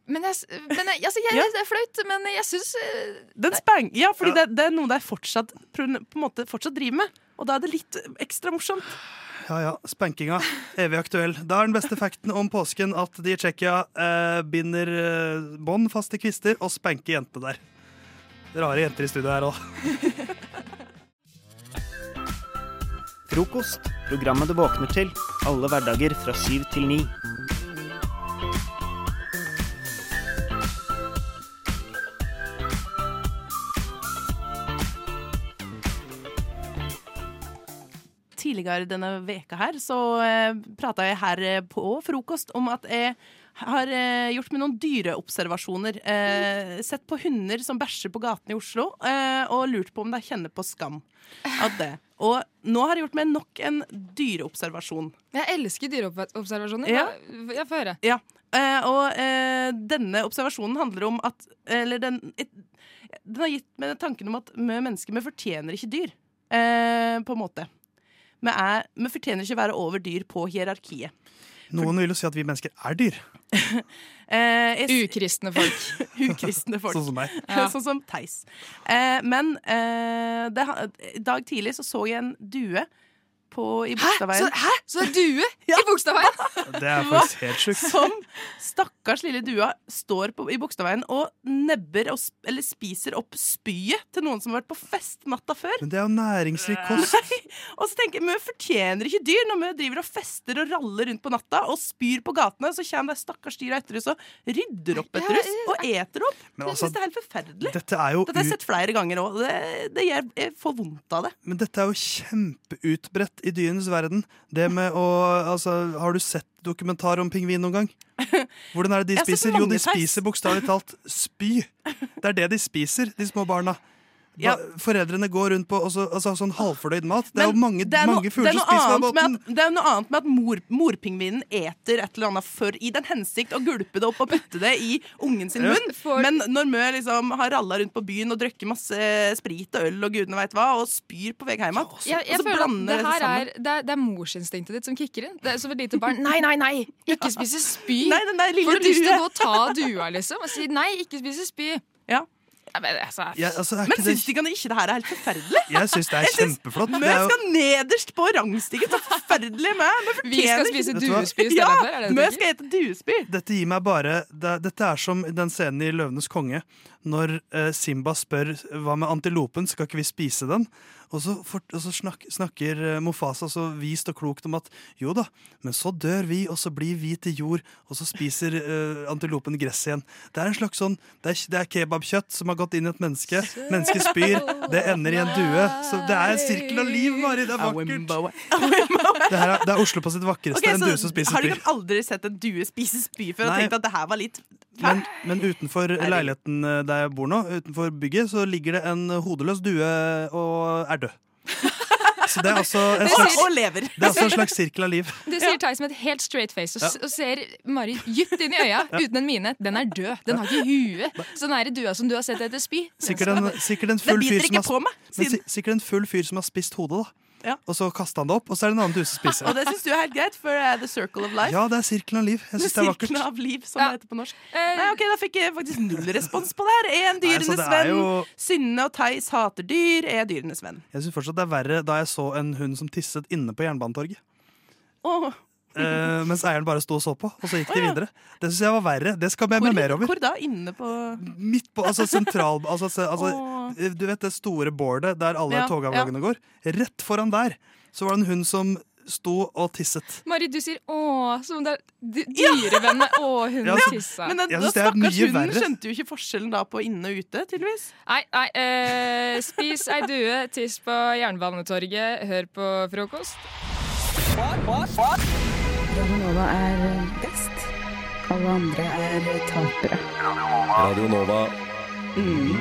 Speaker 4: Men, jeg, s- men jeg, altså, jeg,
Speaker 6: Ja.
Speaker 4: det er flaut, men jeg syns
Speaker 5: eh,
Speaker 6: Den spang, ja, fordi det, det er noe de fortsatt, på en måte, fortsatt driver med. Og da er det litt ekstra morsomt.
Speaker 12: Ja ja, spankinga. Evig aktuell. Da er den beste facten om påsken at de i Tsjekkia eh, binder eh, bånd fast til kvister og spanker jentene der. Rare jenter i studio her òg.
Speaker 27: Frokost. Programmet du våkner til. Alle hverdager fra syv til ni.
Speaker 6: tidligere denne veka her, så eh, prata jeg her eh, på frokost om at jeg har eh, gjort meg noen dyreobservasjoner. Eh, sett på hunder som bæsjer på gaten i Oslo, eh, og lurt på om de kjenner på skam av det. Og nå har jeg gjort meg nok en dyreobservasjon.
Speaker 4: Jeg elsker dyreobservasjoner.
Speaker 6: Ja.
Speaker 4: Hva- Jeg får høre.
Speaker 6: Ja. Eh, og eh, denne observasjonen handler om at Eller den, et, den har gitt meg tanken om at vi mennesker vi fortjener ikke dyr. Eh, på en måte. Vi, er, vi fortjener ikke være over dyr på hierarkiet.
Speaker 12: Noen vil jo si at vi mennesker er dyr.
Speaker 6: Eh,
Speaker 4: Ukristne folk.
Speaker 6: Ukristne folk.
Speaker 12: Sånn som meg.
Speaker 6: Ja. sånn som Theis. Eh, men eh, det, ha- i dag tidlig så, så jeg en due på, i Bogstadveien.
Speaker 4: Så- hæ? Så det er due i Bogstadveien?
Speaker 12: Det er faktisk helt sjukt.
Speaker 6: Som stakkars lille dua står på, i Bogstadveien og nebber og, sp- eller spiser opp spyet til noen som har vært på fest natta før.
Speaker 12: Men det er jo næringsrik kost.
Speaker 6: Nei. Og så tenker jeg, Vi fortjener ikke dyr når vi driver og fester og raller rundt på natta og spyr på gatene. Så kommer de stakkars dyra etter oss og rydder opp etter oss og eter opp. jeg
Speaker 12: Men altså,
Speaker 6: synes det er helt forferdelig.
Speaker 12: Dette er jo
Speaker 6: Dette har jeg
Speaker 12: ut-
Speaker 6: sett flere ganger òg. Det, det gjør jeg får vondt av det.
Speaker 12: Men dette er jo kjempeutbredt i dyrenes verden. Det med å, altså, Har du sett dokumentar om pingvin noen gang? Hvordan er det de
Speaker 6: Jeg har sett
Speaker 12: spiser? Jo, de
Speaker 6: mange fest.
Speaker 12: spiser bokstavelig talt spy. Det er det de spiser, de små barna. Ba,
Speaker 6: Ja.
Speaker 12: Foreldrene går rundt på og så- altså, sånn halvfordøyd mat. Det er jo mange,
Speaker 6: Det er, noe-
Speaker 12: mange fugler
Speaker 6: det er
Speaker 12: som
Speaker 6: noe
Speaker 12: spiser den
Speaker 6: annet med
Speaker 12: båten.
Speaker 6: at, det er noe annet med at mor, morpingvinen eter et eller annet for i den hensikt å gulpe det opp og putte det i ungen sin
Speaker 12: Ja.
Speaker 6: munn. Men når Mø liksom har ralla rundt på byen og drukket masse sprit og øl og gudene veit hva, og spyr på vei hjem igjen,
Speaker 4: Jeg, jeg
Speaker 6: og så
Speaker 4: føler at
Speaker 6: blander
Speaker 4: det
Speaker 6: altså, det
Speaker 4: her
Speaker 6: sammen.
Speaker 4: er, det er, det er morsinstinktet ditt som kicker inn. Det er Som et lite barn. Nei, nei, nei! Ikke spise spy!
Speaker 6: Nei, den der lille
Speaker 4: Får du lyst til
Speaker 6: due.
Speaker 4: å gå og ta dua, liksom? Og si nei, ikke spise spy.
Speaker 6: Ja.
Speaker 4: men altså,
Speaker 12: Ja, altså, er
Speaker 6: Men
Speaker 12: ikke det-
Speaker 6: syns ikke, ikke det her er helt forferdelig?
Speaker 12: Jeg syns det er kjempeflott.
Speaker 6: Mø
Speaker 12: Det er jo-
Speaker 6: skal nederst på rangstigen. Det er forferdelig med. Vi
Speaker 4: Vi skal spise
Speaker 12: Vet du hva? duespy i stedet
Speaker 6: Ja,
Speaker 12: for, er det det du
Speaker 6: Mø
Speaker 12: tenker?
Speaker 6: skal hete duespy.
Speaker 12: Dette gir meg bare det, Dette er som den scenen i Løvenes konge når eh, Simba spør hva med antilopen, skal ikke vi spise den? Og så, fort- og så snak, snakker eh, Mofasa så vist og klokt om at jo da, men så dør vi, og så blir vi til jord, og så spiser eh, antilopen gress igjen. Det er en slags sånn det er, det er kebabkjøtt som har gått inn i et menneske. Mennesket spyr, det ender i en due. Så det er en sirkel av liv, Mari. Det er vakkert. Det, her er, det er Oslo på sitt vakreste.
Speaker 6: Ok,
Speaker 12: en
Speaker 6: så
Speaker 12: due som spiser
Speaker 6: Har du
Speaker 12: spyr.
Speaker 6: ikke aldri sett en due spise spy før og
Speaker 12: Nei.
Speaker 6: tenkt at det her var litt
Speaker 12: Men, men utenfor leiligheten eh, der jeg bor nå, utenfor bygget, så ligger det en hodeløs due og er død. Så det er også en
Speaker 4: Det sier-
Speaker 12: slags,
Speaker 4: Og lever.
Speaker 12: Det er også en slags sirkel av liv.
Speaker 4: Det sier Theis med et helt straight face og, s-
Speaker 12: Ja.
Speaker 4: og ser Mari dypt inn i øya
Speaker 12: Ja.
Speaker 4: uten en mine. Den er død. Den har ikke hue. Så den er i dua som du har sett etter spy. Den
Speaker 12: Sikkert
Speaker 4: skal
Speaker 12: en,
Speaker 4: dø.
Speaker 12: sikkert en full fyr som har, sp- men si- sikkert en full fyr som har spist hodet, da. Og så kasta han det opp, og så er det en annen due som spiser.
Speaker 6: Og det syns du er helt greit, for det er the circle of life.
Speaker 12: Ja, det er sirkelen av liv. Jeg syns det er vakkert.
Speaker 6: Sirkelen av liv, som det heter på norsk.
Speaker 12: Eh,
Speaker 6: Nei, ok, Da fikk jeg faktisk null respons på det her. Er en
Speaker 12: Nei, så det
Speaker 6: dyrenes
Speaker 12: er
Speaker 6: venn.
Speaker 12: jo-
Speaker 6: Synne og Theis hater dyr. Er dyrenes venn.
Speaker 12: Jeg syns fortsatt det er verre da jeg så en hund som tisset inne på Jernbanetorget.
Speaker 6: Åh.
Speaker 12: Eh, mens eieren bare sto og så på, og så gikk de videre. Det syns jeg var verre. Det skal jeg meg mer over.
Speaker 6: Hvor da? Inne på
Speaker 12: Midt på, altså sentral altså, se- altså, Du vet det store boardet der alle
Speaker 6: Ja,
Speaker 12: togavgangene går? Rett foran der så var det en hund som sto og tisset.
Speaker 4: Mari, du sier 'å' som om det er dy- dyrevenn med 'å, hun
Speaker 12: Ja, altså,
Speaker 4: tissa'.
Speaker 6: Men den,
Speaker 12: Jeg
Speaker 6: da
Speaker 12: synes det er
Speaker 6: stakkars
Speaker 12: mye
Speaker 6: hunden
Speaker 12: verre.
Speaker 6: skjønte jo ikke forskjellen da på inne og ute, tydeligvis.
Speaker 4: Nei, nei. eh, spis ei due, tiss på Jernbanetorget, hør på frokost.
Speaker 16: Radio Nova er best. Alle andre er tapere.
Speaker 23: Mm.
Speaker 2: Radio Nova.
Speaker 16: Mm.